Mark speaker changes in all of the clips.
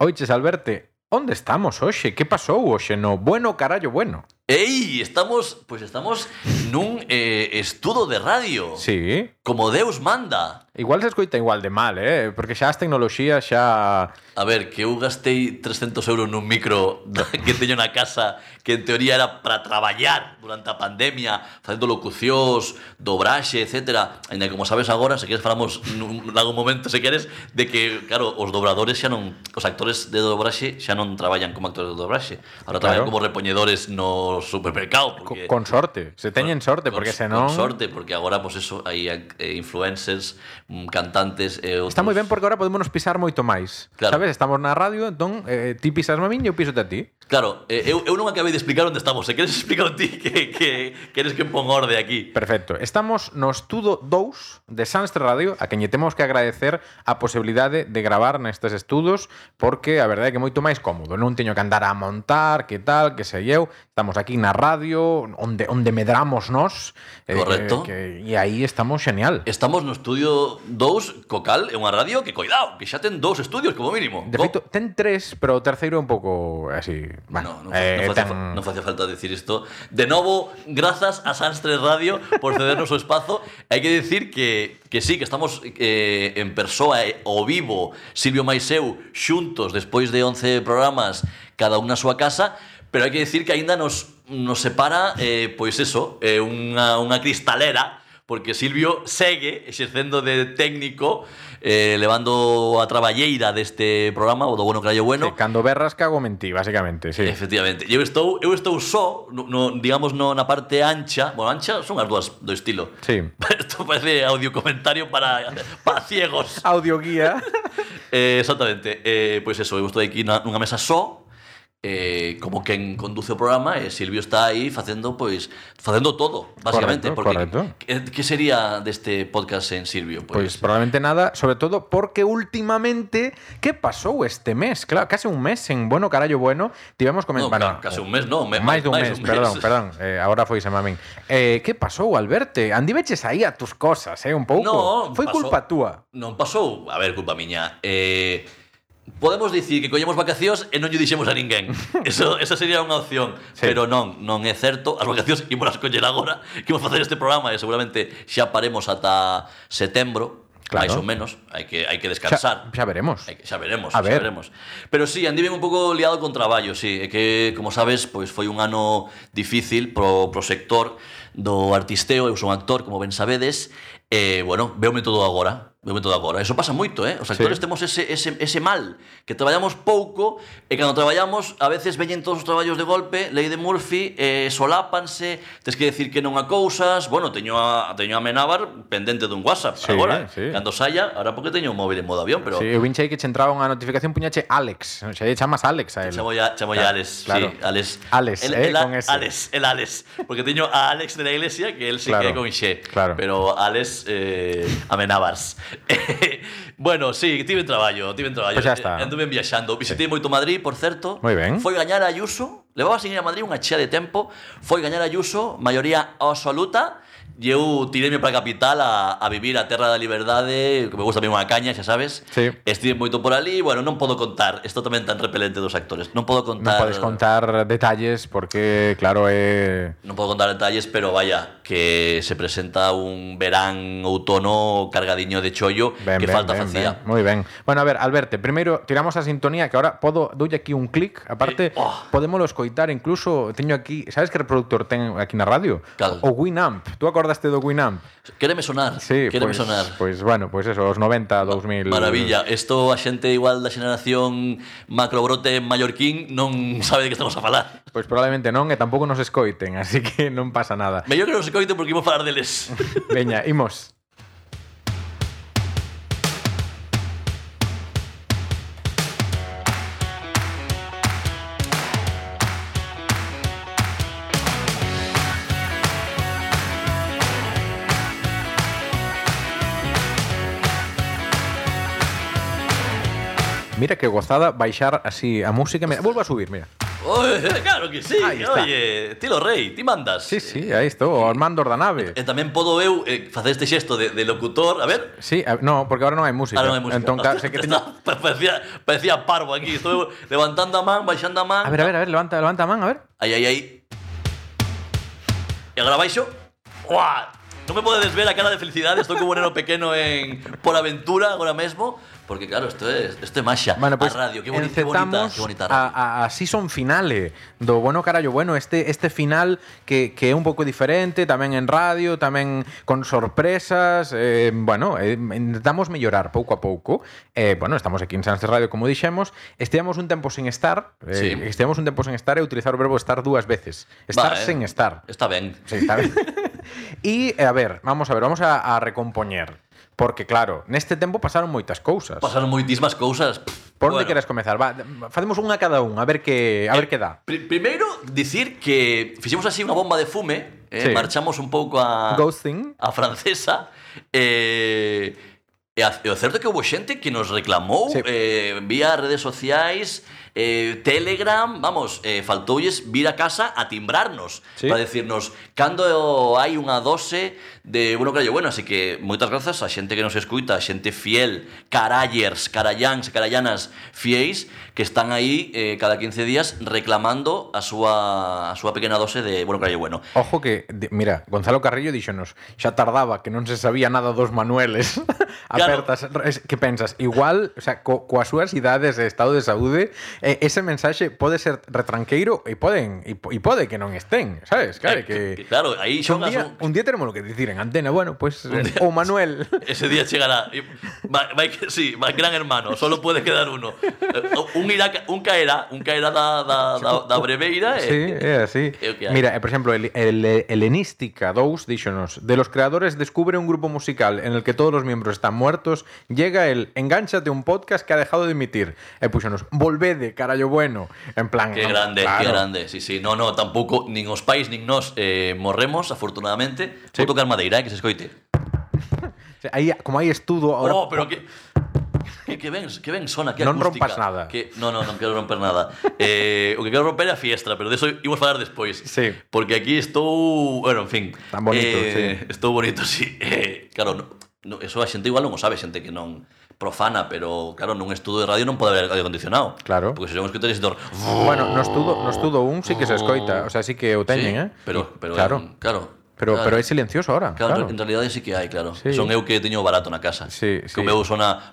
Speaker 1: Oiches, Alberte, onde estamos hoxe? Que pasou hoxe no bueno carallo bueno?
Speaker 2: Ei, estamos, pois estamos nun eh, estudo de radio.
Speaker 1: Sí.
Speaker 2: Como Deus manda.
Speaker 1: Igual se escoita igual de mal, eh? Porque xa as tecnoloxías xa...
Speaker 2: A ver, que eu gastei 300 euros nun micro da- que teño na casa que en teoría era para traballar durante a pandemia, facendo locucións, dobraxe, etc. Ainda que, como sabes agora, se queres falamos nun, algún momento, se queres, de que, claro, os dobradores xa non... Os actores de dobraxe xa non traballan como actores de dobraxe. Ahora traballan
Speaker 1: Claro.
Speaker 2: como repoñedores no supermercado.
Speaker 1: Co-
Speaker 2: Porque...
Speaker 1: Con sorte. Se teñen sorte,
Speaker 2: Con-
Speaker 1: porque
Speaker 2: con
Speaker 1: senón...
Speaker 2: sorte, porque agora, pois pues, eso, hai eh, influencers, mm, cantantes e outros.
Speaker 1: Está moi ben porque agora podemos pisar moito máis.
Speaker 2: Claro.
Speaker 1: Sabes, estamos na radio, entón eh, ti pisas a min e eu piso a ti.
Speaker 2: Claro, eh, eu, eu non acabei de explicar onde estamos. Se queres explicar ti que, que queres que pon orde aquí.
Speaker 1: Perfecto. Estamos no estudo 2 de Sanstre Radio, a quen lle temos que agradecer a posibilidade de gravar nestes estudos, porque a verdade é que é moito máis cómodo. Non teño que andar a montar, que tal, que sei eu. Estamos aquí na radio, onde, onde medramos nós. eh,
Speaker 2: Correcto.
Speaker 1: Que, que, e aí estamos xenial.
Speaker 2: Estamos no estudio 2 Cocal, é unha radio que coidado, que xa ten dous estudios como mínimo.
Speaker 1: De
Speaker 2: Co-
Speaker 1: feito, ten tres, pero o terceiro é un pouco así... Bueno,
Speaker 2: No, non,
Speaker 1: eh,
Speaker 2: non, facía, fa-
Speaker 1: ten-
Speaker 2: non facía falta decir isto. De novo, grazas a Sanstres Radio por cedernos o espazo. Hai que decir que, que sí, que estamos eh, en persoa e o vivo, Silvio Maiseu, xuntos despois de 11 programas, cada unha na súa casa, pero hai que decir que aínda nos nos separa eh, pois eso, eh, unha, unha cristalera Porque Silvio segue exercendo de técnico eh, Levando a traballeira deste programa O do Bueno Crayo Bueno
Speaker 1: Sí, cando berras cago mentí, basicamente, sí.
Speaker 2: Efectivamente. Eu estou, eu estou só, no, no, digamos, no, na parte ancha. Bueno, ancha son as dúas do estilo.
Speaker 1: Sí.
Speaker 2: Isto parece audio comentario para, para ciegos.
Speaker 1: Audioguía.
Speaker 2: Eh, exactamente. Eh, pois eso, eu estou aquí na, nunha mesa só, eh, como quen conduce o programa, e Silvio está aí facendo, pois, facendo todo, basicamente.
Speaker 1: Correcto, correcto.
Speaker 2: porque, Que, que sería deste podcast en Silvio?
Speaker 1: Pues probablemente nada, sobre todo porque últimamente, ¿qué pasó este mes? Claro, casi un mes en Bueno Carallo Bueno, tivemos
Speaker 2: no,
Speaker 1: comentado...
Speaker 2: ca- casi un mes, no. me-
Speaker 1: máis dun
Speaker 2: máis
Speaker 1: mes, perdón, perdón. Eh, agora foi semana min. Eh, que pasou, Alberto? Andi veches aí a tus cosas, eh, un pouco.
Speaker 2: No,
Speaker 1: foi
Speaker 2: pasou-
Speaker 1: culpa túa.
Speaker 2: Non pasou, a ver, culpa miña. Eh, podemos dicir que collemos vacacións e non lle dixemos a ninguén. Eso, esa sería unha opción.
Speaker 1: Sí.
Speaker 2: Pero non, non é certo. As vacacións imos as coller agora que imos facer este programa e seguramente xa paremos ata setembro,
Speaker 1: Claro.
Speaker 2: máis ou menos. Hai que, hai que
Speaker 1: Xa,
Speaker 2: descansar.
Speaker 1: xa veremos.
Speaker 2: Hai que- Xa veremos,
Speaker 1: A
Speaker 2: xa
Speaker 1: ver.
Speaker 2: veremos. Pero sí, andiven un pouco liado con traballo, sí, é que, como sabes, pois foi un ano difícil pro, pro sector do artisteo, eu son actor, como ben sabedes, e, bueno, veume todo agora, veume todo agora. Eso pasa moito, eh? Os actores
Speaker 1: Sí.
Speaker 2: temos ese, ese, ese mal, que traballamos pouco, e cando traballamos, a veces veñen todos os traballos de golpe, lei de Murphy, eh, solápanse, tes que decir que non a cousas, bueno, teño a, teño a Menábar pendente dun WhatsApp,
Speaker 1: Sí,
Speaker 2: agora,
Speaker 1: sí.
Speaker 2: cando saia, ahora porque teño o móvil en modo avión, pero...
Speaker 1: Sí, eu vinche aí que che entraba unha notificación puñache Alex, xa lle chamas Alex a él.
Speaker 2: Chamo ya, chamo ya
Speaker 1: Claro,
Speaker 2: Alex,
Speaker 1: claro.
Speaker 2: sí, Alex.
Speaker 1: Alex, eh,
Speaker 2: a-
Speaker 1: con ese.
Speaker 2: Alex, el Alex. Porque teño a Alex de la iglesia, que él sí
Speaker 1: Claro,
Speaker 2: que é con Ixé.
Speaker 1: claro.
Speaker 2: Pero Alex eh, amenabas. bueno, sí, tive traballo, tive traballo.
Speaker 1: Pois xa Pues está.
Speaker 2: Eh, Anduve viaxando. Visitei moito Madrid, por certo.
Speaker 1: Moi ben.
Speaker 2: Foi gañar a Ayuso. Levaba sin ir a Madrid unha chea de tempo. Foi gañar a Ayuso, maioría absoluta. E eu tirei para a capital a, a vivir a Terra da Liberdade, que me gusta mesmo a caña, xa sabes.
Speaker 1: Sí.
Speaker 2: Estive moito por ali, bueno, non podo contar. Isto tamén tan repelente dos actores. Non podo contar.
Speaker 1: Non podes contar detalles porque claro, eh, é
Speaker 2: Non podo contar detalles, pero vaya, que se presenta un verán outono cargadiño de chollo
Speaker 1: Ben,
Speaker 2: que
Speaker 1: ben,
Speaker 2: falta
Speaker 1: ben,
Speaker 2: facía.
Speaker 1: ben. Moi ben. Bueno, a ver, Alberto, primeiro tiramos a sintonía que ahora podo doulle aquí un clic, aparte
Speaker 2: Eh, oh.
Speaker 1: podémolo escoitar incluso teño aquí, sabes que reproductor ten aquí na radio?
Speaker 2: Cal?
Speaker 1: O Winamp. Tú acordaste do Winamp?
Speaker 2: Quéreme sonar,
Speaker 1: Sí,
Speaker 2: quéreme
Speaker 1: pois,
Speaker 2: sonar.
Speaker 1: pois bueno, pois eso, os 90, 2000.
Speaker 2: Maravilla, isto a xente igual da xeneración macrobrote mallorquín non sabe de que estamos a falar.
Speaker 1: Pois probablemente non e tampouco nos escoiten, así que non pasa nada.
Speaker 2: Mellor que non se coite porque imos falar deles.
Speaker 1: Veña, imos. Mira que gozada baixar así a música. Mira, vuelvo a subir, mira.
Speaker 2: Oe, claro que sí,
Speaker 1: Aí está.
Speaker 2: oye, ti lo rei, ti mandas.
Speaker 1: Sí, sí, aí estou, o Armando Ordanave.
Speaker 2: E tamén podo eu eh, facer este xesto de, de locutor, a ver,
Speaker 1: Sí, a- no, porque ahora non hai música.
Speaker 2: Ahora non hai música.
Speaker 1: Entón, claro, sei que teño...
Speaker 2: parecía, parecía parvo aquí. Estou levantando a man, baixando a man.
Speaker 1: A ver, a ver, a ver, levanta, levanta a man, a ver.
Speaker 2: Aí, aí, aí. E agora baixo. Uá! Non me podedes ver a cara de felicidade, estou como un neno pequeno en por aventura agora mesmo, porque claro, isto é, isto é maxa,
Speaker 1: Bueno, pues
Speaker 2: a radio, que bonita, que bonita,
Speaker 1: encetamos
Speaker 2: que bonita radio.
Speaker 1: a, a, a season finale do Bueno Carallo Bueno, este este final que, que é un pouco diferente, tamén en radio, tamén con sorpresas, eh, bueno, eh, intentamos mellorar pouco a pouco. Eh, bueno, estamos aquí en Sans Radio, como dixemos, estivemos un tempo sen estar, eh,
Speaker 2: Sí.
Speaker 1: estivemos un tempo sen estar e utilizar o verbo estar dúas veces. Estar
Speaker 2: Va, eh.
Speaker 1: sen estar.
Speaker 2: Está ben.
Speaker 1: Sí, está ben. e, eh, a ver, vamos a ver, vamos a, a recompoñer. Porque, claro, neste tempo pasaron moitas cousas.
Speaker 2: Pasaron moitísimas cousas.
Speaker 1: Por onde
Speaker 2: Bueno. Eh,
Speaker 1: queres comezar? Va, facemos unha cada un, a ver que a ver que dá.
Speaker 2: Pri- primeiro, dicir que fixemos así unha bomba de fume, eh,
Speaker 1: Sí.
Speaker 2: marchamos un pouco a...
Speaker 1: Ghosting.
Speaker 2: a francesa eh, e a- e o certo é que houve xente que nos reclamou
Speaker 1: Sí.
Speaker 2: sí. eh, vía redes sociais eh, Telegram, vamos, eh, faltoulles vir a casa a timbrarnos
Speaker 1: Sí.
Speaker 2: sí. para decirnos cando hai unha dose de, bueno, creo, bueno, así que moitas grazas a xente que nos escuita, a xente fiel, carallers, carallans, e carallanas fieis que están aí eh, cada 15 días reclamando a súa a súa pequena dose de, bueno, creo, bueno.
Speaker 1: Ojo que, de- mira, Gonzalo Carrillo díxonos, xa tardaba que non se sabía nada dos Manueles.
Speaker 2: Claro.
Speaker 1: Apertas, es- que pensas, igual, o sea, co, coas súas idades e estado de saúde, eh, ese mensaxe pode ser retranqueiro e poden e, po- e pode que non estén, sabes? Claro,
Speaker 2: Eh,
Speaker 1: que,
Speaker 2: claro,
Speaker 1: un
Speaker 2: aí xogas
Speaker 1: día,
Speaker 2: un-
Speaker 1: un día tenemos lo que dicir en antena, bueno, pues
Speaker 2: Un día-
Speaker 1: o Manuel.
Speaker 2: Ese día llegará. Y Va, va- sí, va, gran hermano, solo puede quedar uno. Eh, Un, irá, ca- un caerá, un caerá da, da, da, da breveira.
Speaker 1: Sí,
Speaker 2: eh.
Speaker 1: é así.
Speaker 2: É o que hai.
Speaker 1: Mira, e, por exemplo, el, el, Helenística 2 díxonos, de los creadores descubre un grupo musical en el que todos los miembros están muertos, llega el engánchate un podcast que ha dejado de emitir. E puxonos, volvede, carallo bueno. En plan,
Speaker 2: Qué
Speaker 1: no,
Speaker 2: grande,
Speaker 1: claro.
Speaker 2: qué grande. Sí, sí, no, no, tampoco, nin os pais, nin nos eh, morremos, afortunadamente.
Speaker 1: Sí.
Speaker 2: Vou tocar madeira, eh, que se escoite.
Speaker 1: O sea, aí, como hai estudo ahora,
Speaker 2: oh, pero que... Que, que ben, que ben sona, que
Speaker 1: Non
Speaker 2: acústica.
Speaker 1: rompas nada.
Speaker 2: Que, no, no, non quero romper nada. Eh, o que quero romper é a fiestra, pero de eso imos falar despois.
Speaker 1: Sí.
Speaker 2: Porque aquí estou, bueno, en fin.
Speaker 1: Tan bonito,
Speaker 2: eh, sí. Estou bonito, sí. Eh, claro, no, no, eso a xente igual non o sabe, xente que non profana, pero claro, nun estudo de radio non pode haber radio acondicionado.
Speaker 1: Claro.
Speaker 2: Porque se son escritores dor...
Speaker 1: bueno, no estudo, no estudo un sí que se escoita, o sea, sí que o teñen, eh?
Speaker 2: Oh. Pero, pero,
Speaker 1: claro,
Speaker 2: en- claro.
Speaker 1: pero,
Speaker 2: claro,
Speaker 1: pero é silencioso ahora,
Speaker 2: Claro,
Speaker 1: claro.
Speaker 2: en realidade sí que hai, claro.
Speaker 1: Sí.
Speaker 2: Son eu que teño barato na casa.
Speaker 1: Sí, sí.
Speaker 2: Que o meu sona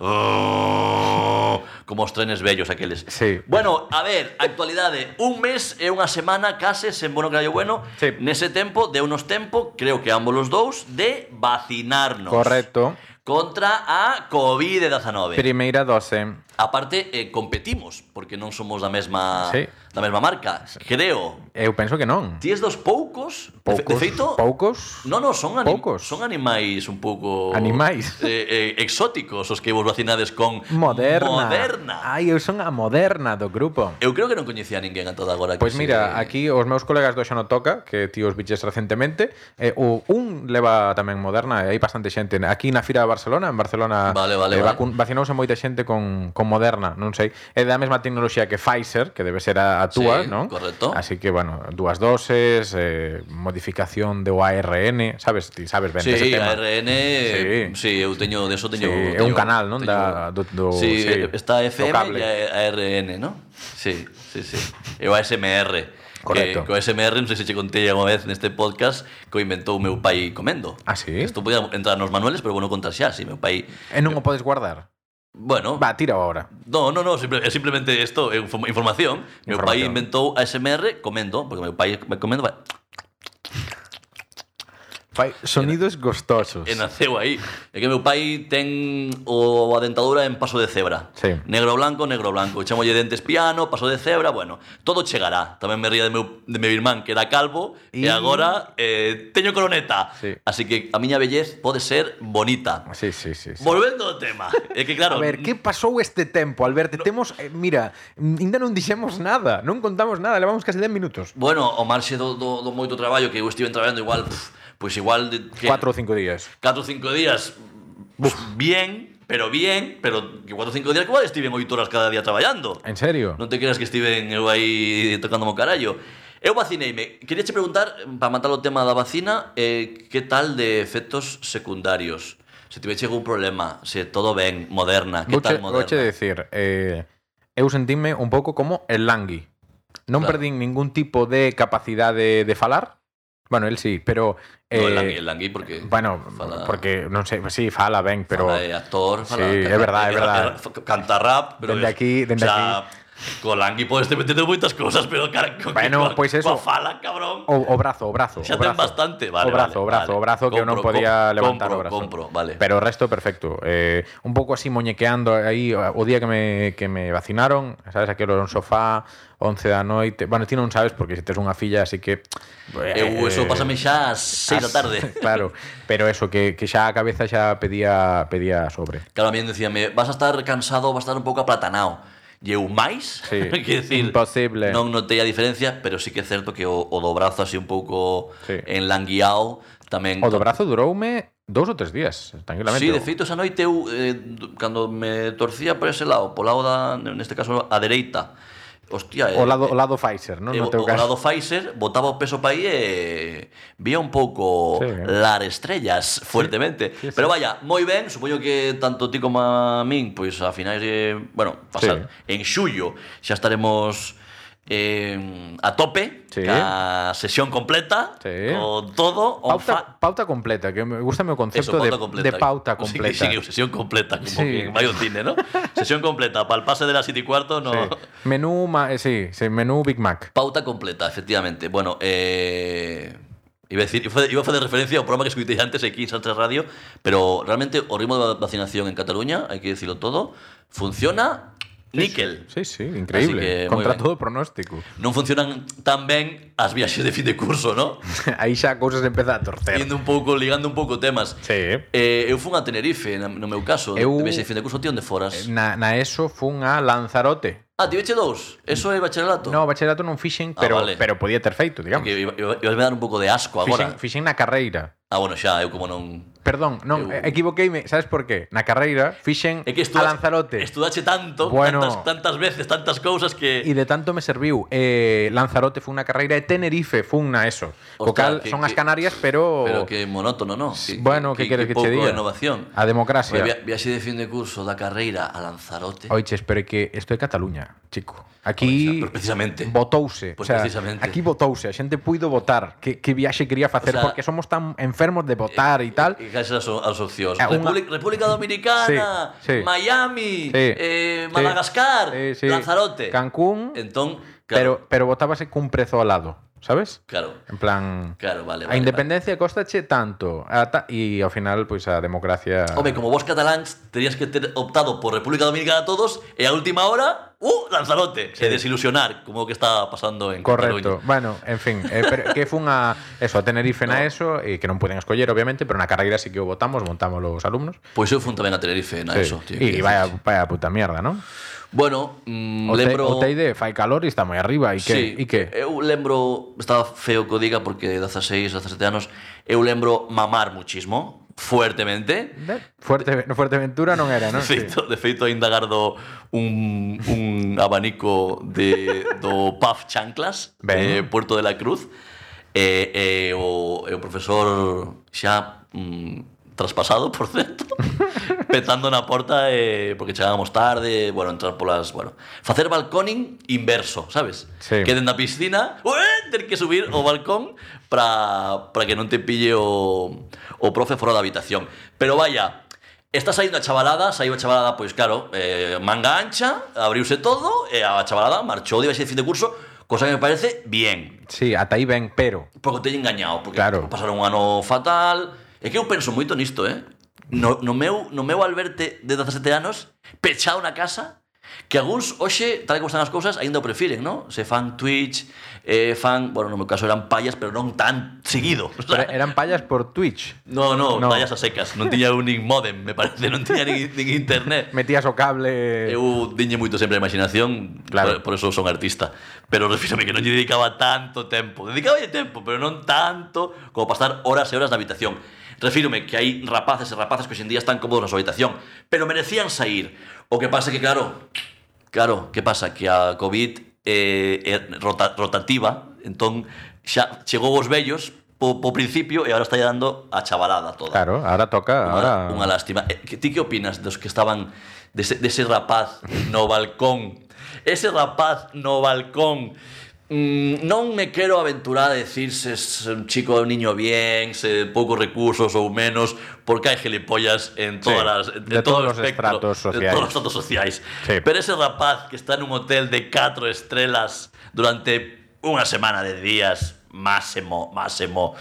Speaker 2: como os trenes vellos aqueles.
Speaker 1: Sí.
Speaker 2: Bueno, a ver, actualidade, un mes e unha semana case sen bono callo bueno.
Speaker 1: Sí.
Speaker 2: Nese tempo, de unos tempo, creo que ambos os dous de vacinarnos.
Speaker 1: Correcto.
Speaker 2: Contra a COVID-19.
Speaker 1: Primeira dose.
Speaker 2: Aparte, eh, competimos, porque non somos da mesma
Speaker 1: Sí.
Speaker 2: da mesma marca, creo.
Speaker 1: Eu penso que non.
Speaker 2: Ti es dos poucos, de fe-
Speaker 1: Poucos,
Speaker 2: de feito,
Speaker 1: poucos.
Speaker 2: No, no, son, ani
Speaker 1: Poucos.
Speaker 2: son animais un pouco...
Speaker 1: Animais.
Speaker 2: Eh, eh, exóticos os que vos vacinades con...
Speaker 1: Moderna.
Speaker 2: Moderna.
Speaker 1: Ai, eu son a moderna do grupo.
Speaker 2: Eu creo que non coñecía a ninguén a toda agora. que
Speaker 1: Pois
Speaker 2: se-
Speaker 1: mira, aquí os meus colegas do Xa no Toca, que ti os biches recentemente, eh, o un leva tamén moderna, e hai bastante xente. Aquí na Fira de Barcelona, en Barcelona,
Speaker 2: Vale,
Speaker 1: eh,
Speaker 2: vale, vale.
Speaker 1: vacun- vacinouse moita xente con, con moderna, non sei. É da mesma tecnoloxía que Pfizer, que debe ser a, a túa,
Speaker 2: Sí,
Speaker 1: non?
Speaker 2: correcto.
Speaker 1: Así que, bueno, dúas doses, eh, modificación do ARN, sabes, ti sabes ben dese
Speaker 2: Sí,
Speaker 1: tema.
Speaker 2: ARN, sí. sí, eu teño, de eso teño...
Speaker 1: Sí, é
Speaker 2: teño-
Speaker 1: un canal, non?
Speaker 2: teño-
Speaker 1: Da- do- do-
Speaker 2: sí, eh,
Speaker 1: sí,
Speaker 2: está
Speaker 1: do
Speaker 2: FM
Speaker 1: cable.
Speaker 2: e a- ARN, non? Sí, sí, sí. E o ASMR.
Speaker 1: Correcto.
Speaker 2: Que, co ASMR, non sei se che contei unha vez neste podcast, que o inventou o meu pai comendo.
Speaker 1: Ah, sí?
Speaker 2: Isto podía entrar nos manuales, pero bueno, contar xa, si meu pai...
Speaker 1: E non o podes guardar.
Speaker 2: Bueno,
Speaker 1: Va, tira ahora.
Speaker 2: No, no, no, simple- é simplemente isto, é inform- información. Meu
Speaker 1: Información.
Speaker 2: pai inventou ASMR comendo, porque meu pai me comendo, vai,
Speaker 1: Fai sonidos gostosos.
Speaker 2: e naceu aí. É que meu pai ten o a dentadura en paso de cebra.
Speaker 1: Sí.
Speaker 2: Negro blanco, negro blanco. Chamolle dentes piano, paso de cebra, bueno, todo chegará. Tamén me ría de meu, de meu irmán que era calvo
Speaker 1: E-
Speaker 2: e, agora eh, teño coroneta.
Speaker 1: Sí.
Speaker 2: Así que a miña bellez pode ser bonita.
Speaker 1: Sí, sí, sí. sí.
Speaker 2: Volvendo ao tema, é que claro,
Speaker 1: A ver, que pasou este tempo, Alberto? Temos, eh, mira, mm, ainda non dixemos nada, non contamos nada, levamos casi 10 minutos.
Speaker 2: bueno, o marxe do, do, do moito traballo que eu estive traballando igual, pff, pois igual de, que,
Speaker 1: 4 ou 5 días.
Speaker 2: 4 ou 5 días bien, pero bien, pero que 4 ou 5 días que igual estiven 8 horas cada día traballando.
Speaker 1: En serio?
Speaker 2: Non te creas que estiven eu aí tocando o carallo. Eu vacineime. Quería che preguntar, para matar o tema da vacina, eh, que tal de efectos secundarios? Se tive algún problema, se todo ben, moderna, que
Speaker 1: Vouche,
Speaker 2: tal moderna?
Speaker 1: vouche decir, eh, eu sentime un pouco como el Langui. Non
Speaker 2: Claro.
Speaker 1: claro. perdín ningún tipo de capacidade de falar. Bueno, el sí, pero...
Speaker 2: No,
Speaker 1: eh,
Speaker 2: el Langui, el Langui porque
Speaker 1: Bueno,
Speaker 2: Fala-
Speaker 1: porque non sei, sí, fala ben, pero
Speaker 2: fala eh. de actor, fala,
Speaker 1: Sí, é verdade, é verdade.
Speaker 2: canta- Canta rap, pero
Speaker 1: Dende
Speaker 2: es-
Speaker 1: aquí- dende
Speaker 2: o sea, co Langui podes te meter en moitas cousas, pero cara, co
Speaker 1: Bueno,
Speaker 2: coa-
Speaker 1: pois eso.
Speaker 2: coa fala, cabrón.
Speaker 1: o, o brazo, o brazo,
Speaker 2: Xa
Speaker 1: o
Speaker 2: ten
Speaker 1: brazo.
Speaker 2: bastante,
Speaker 1: o
Speaker 2: vale.
Speaker 1: brazo,
Speaker 2: vale,
Speaker 1: o brazo,
Speaker 2: vale.
Speaker 1: o brazo que eu non
Speaker 2: Compro,
Speaker 1: podía
Speaker 2: com-
Speaker 1: levantar
Speaker 2: compro,
Speaker 1: o brazo.
Speaker 2: Compro, vale.
Speaker 1: Pero o resto perfecto. Eh, un pouco así moñequeando aí o día que me, que me vacinaron, sabes, aquilo era un sofá, 11 da noite. Bueno, ti non sabes porque se tes unha filla, así que Pues, eh,
Speaker 2: eu Eh, eso pásame xa ás 6 da tarde.
Speaker 1: Claro, pero eso que, que xa a cabeza xa pedía pedía sobre.
Speaker 2: Claro, a mí decíame, vas a estar cansado, vas a estar un pouco aplatanao. E eu máis?
Speaker 1: Sí,
Speaker 2: Quer dicir,
Speaker 1: imposible.
Speaker 2: Non notei a diferencia, pero sí que é certo que o, o do brazo así un pouco
Speaker 1: Sí.
Speaker 2: enlanguiao tamén
Speaker 1: O do brazo duroume dous ou tres días, tranquilamente.
Speaker 2: Sí, de feito, esa noite eu, eh, d- cando me torcía por ese lado, po lado da, neste caso, a dereita, hostia, eh,
Speaker 1: O lado o lado Pfizer, non?
Speaker 2: eh,
Speaker 1: no
Speaker 2: o,
Speaker 1: teu
Speaker 2: o
Speaker 1: caso.
Speaker 2: lado Pfizer botaba o peso para aí e vía un pouco
Speaker 1: Sí.
Speaker 2: lar estrellas fuertemente.
Speaker 1: Sí, sí.
Speaker 2: Pero vaya, moi ben, supoño que tanto ti como a min, pois a finais de, bueno, pasar sí. en xullo xa estaremos eh, a tope,
Speaker 1: Sí.
Speaker 2: a sesión completa,
Speaker 1: Sí.
Speaker 2: con todo, on
Speaker 1: Pauta,
Speaker 2: fa-
Speaker 1: pauta completa, que me gusta o
Speaker 2: Eso,
Speaker 1: concepto
Speaker 2: pauta
Speaker 1: de,
Speaker 2: completa.
Speaker 1: de pauta
Speaker 2: Sí,
Speaker 1: completa.
Speaker 2: Sí, que sesión completa, como
Speaker 1: Sí.
Speaker 2: que vai ao cine, ¿no? Sesión completa, para el pase de las 7 y cuarto, no...
Speaker 1: Sí. Menú, ma- eh, sí, sí, menú Big Mac.
Speaker 2: Pauta completa, efectivamente. Bueno, eh... Iba a decir, iba a fa- iba a facer referencia ao programa que escutei antes aquí en Sánchez Radio, pero realmente o ritmo de vacinación en Cataluña, hai que decirlo todo, funciona níquel.
Speaker 1: Sí, sí,
Speaker 2: Así que,
Speaker 1: increíble.
Speaker 2: muy
Speaker 1: Contra
Speaker 2: ben.
Speaker 1: todo pronóstico.
Speaker 2: Non funcionan tan ben as viaxes de fin de curso, ¿no?
Speaker 1: Aí xa a cousa se empeza a torcer.
Speaker 2: Indo un pouco, ligando un pouco temas.
Speaker 1: Sí.
Speaker 2: Eh, eu fun a Tenerife, na- no meu caso, eu...
Speaker 1: Eu-
Speaker 2: de viaxe de fin de curso, ti onde foras?
Speaker 1: Na, na ESO fun a Lanzarote.
Speaker 2: Ah, tiveche dous? Eso é bacharelato?
Speaker 1: No, bacharelato non fixen,
Speaker 2: Ah,
Speaker 1: pero
Speaker 2: vale.
Speaker 1: pero podía ter feito, digamos.
Speaker 2: Que iba, iba, ibasme dar un pouco de asco agora.
Speaker 1: Fixen, fixen na carreira.
Speaker 2: Ah, bueno, xa, eu como non...
Speaker 1: Perdón, non,
Speaker 2: Eu-
Speaker 1: eh, equivoqueime, sabes por qué? Na carreira fixen
Speaker 2: É que
Speaker 1: a
Speaker 2: estudache,
Speaker 1: Lanzarote
Speaker 2: Estudache tanto,
Speaker 1: Bueno.
Speaker 2: tantas, tantas veces, tantas cousas
Speaker 1: e
Speaker 2: que...
Speaker 1: de tanto me serviu. Eh, Lanzarote foi unha carreira e Tenerife foi unha eso.
Speaker 2: Ostras,
Speaker 1: Co cal
Speaker 2: que-
Speaker 1: son as
Speaker 2: que-
Speaker 1: Canarias, pero,
Speaker 2: Pero que monótono, ¿no?
Speaker 1: bueno, que queres que che diga?
Speaker 2: innovación.
Speaker 1: a democracia.
Speaker 2: Via, viaxe de fin de curso da carreira a Lanzarote.
Speaker 1: Oiches, pero é que isto é Cataluña, chico.
Speaker 2: Pois, Xa,
Speaker 1: Aquí
Speaker 2: pero precisamente.
Speaker 1: votouse,
Speaker 2: Pois
Speaker 1: o sea,
Speaker 2: precisamente.
Speaker 1: aquí votouse, a xente puido votar. Que, que viaxe quería facer
Speaker 2: O sea, eh,
Speaker 1: porque somos tan enfermos de votar e tal.
Speaker 2: E case as, as opcións.
Speaker 1: É unha-
Speaker 2: República, República Dominicana,
Speaker 1: Eh, Sí, sí.
Speaker 2: Miami,
Speaker 1: Sí,
Speaker 2: eh,
Speaker 1: sí,
Speaker 2: Madagascar,
Speaker 1: Eh, sí, sí.
Speaker 2: Lanzarote.
Speaker 1: Cancún,
Speaker 2: Entón,
Speaker 1: pero
Speaker 2: claro,
Speaker 1: pero votábase cun prezo al lado, sabes?
Speaker 2: claro,
Speaker 1: En plan
Speaker 2: claro, vale,
Speaker 1: a
Speaker 2: vale, vale.
Speaker 1: independencia costache tanto, a ta- e ao final pois a democracia
Speaker 2: Home, como vos cataláns terías que ter optado por República Dominicana todos e a última hora, ¡uh! Lanzarote. Se desilusionar, como o que está pasando en
Speaker 1: Correcto.
Speaker 2: Cataluña.
Speaker 1: Bueno, en fin, eh, pero que fun a eso, a Tenerife na eso e que non poden escoller obviamente, pero na carreira sí que o votamos, montamos os alumnos.
Speaker 2: Pois eu fun tamén a Tenerife na eso, tío.
Speaker 1: y
Speaker 2: que
Speaker 1: vaya,
Speaker 2: decirche.
Speaker 1: vaya puta mierda, ¿no?
Speaker 2: Bueno, mm,
Speaker 1: O, te-
Speaker 2: lembro...
Speaker 1: o Teide fai calor e está moi arriba. E que,
Speaker 2: Sí,
Speaker 1: e que?
Speaker 2: eu lembro, estaba feo que o diga porque 16, 17 anos, eu lembro mamar muchismo, fuertemente.
Speaker 1: Fuerte, no Fuerteventura non era, non?
Speaker 2: De feito, de feito aínda gardo un, un abanico de, do Puff Chanclas
Speaker 1: Ben.
Speaker 2: de Puerto de la Cruz e, e, o, e o profesor xa mm, traspasado, por certo petando na porta eh, porque chegábamos tarde, bueno, entrar polas, bueno, facer balconing inverso, sabes?
Speaker 1: Sí.
Speaker 2: Que dende a piscina, ¡ué! ter que subir o balcón para para que non te pille o o profe fora da habitación. Pero vaya, Está saindo a chavalada, saiu a chavalada, pois claro, eh, manga ancha, abriuse todo, e a chavalada marchou de baixe de fin de curso, cosa que me parece bien,
Speaker 1: Sí, ata aí ben, pero...
Speaker 2: Porque te engañado, porque
Speaker 1: Claro.
Speaker 2: pasaron un ano fatal. É que eu penso moito nisto, eh? No, no, meu, no meu alberte de 17 anos, pechado na casa, que algúns hoxe, tal como están as cousas, aínda o prefiren, non? Se fan Twitch, eh, fan, bueno, no meu caso eran payas, pero non tan seguido. O
Speaker 1: pero
Speaker 2: sea,
Speaker 1: eran pallas por Twitch.
Speaker 2: no, no,
Speaker 1: No.
Speaker 2: payas a secas, non tiña un nin modem, me parece, non tiña nin, nin internet.
Speaker 1: Metías o cable...
Speaker 2: Eu diñe moito sempre a imaginación,
Speaker 1: Claro.
Speaker 2: claro. por, por eso son artista. Pero refírame que non lle dedicaba tanto tempo. Dedicaba tempo, pero non tanto como pasar horas e horas na habitación. Refírome que hai rapaces e rapazas que hoxe en día están cómodos na súa habitación, pero merecían sair. O que pasa é que, claro, claro, que pasa? Que a COVID eh, é rota, rotativa, entón xa chegou os vellos po, po principio e agora está dando a chavalada toda.
Speaker 1: Claro, ahora toca.
Speaker 2: Unha,
Speaker 1: ahora...
Speaker 2: unha lástima. Eh, que- Ti que opinas dos que estaban dese, dese rapaz no balcón? Ese rapaz no balcón Mm, non me quero aventurar a decir se es un chico ou un niño bien, se poucos recursos ou menos, porque hai gilipollas en todas
Speaker 1: Sí,
Speaker 2: las, en,
Speaker 1: de
Speaker 2: en
Speaker 1: todos
Speaker 2: todo o
Speaker 1: los estratos
Speaker 2: espectro, De
Speaker 1: sociais.
Speaker 2: todos os estratos sociais.
Speaker 1: Sí.
Speaker 2: Pero ese rapaz que está nun hotel de 4 estrelas durante unha semana de días, máximo, máximo,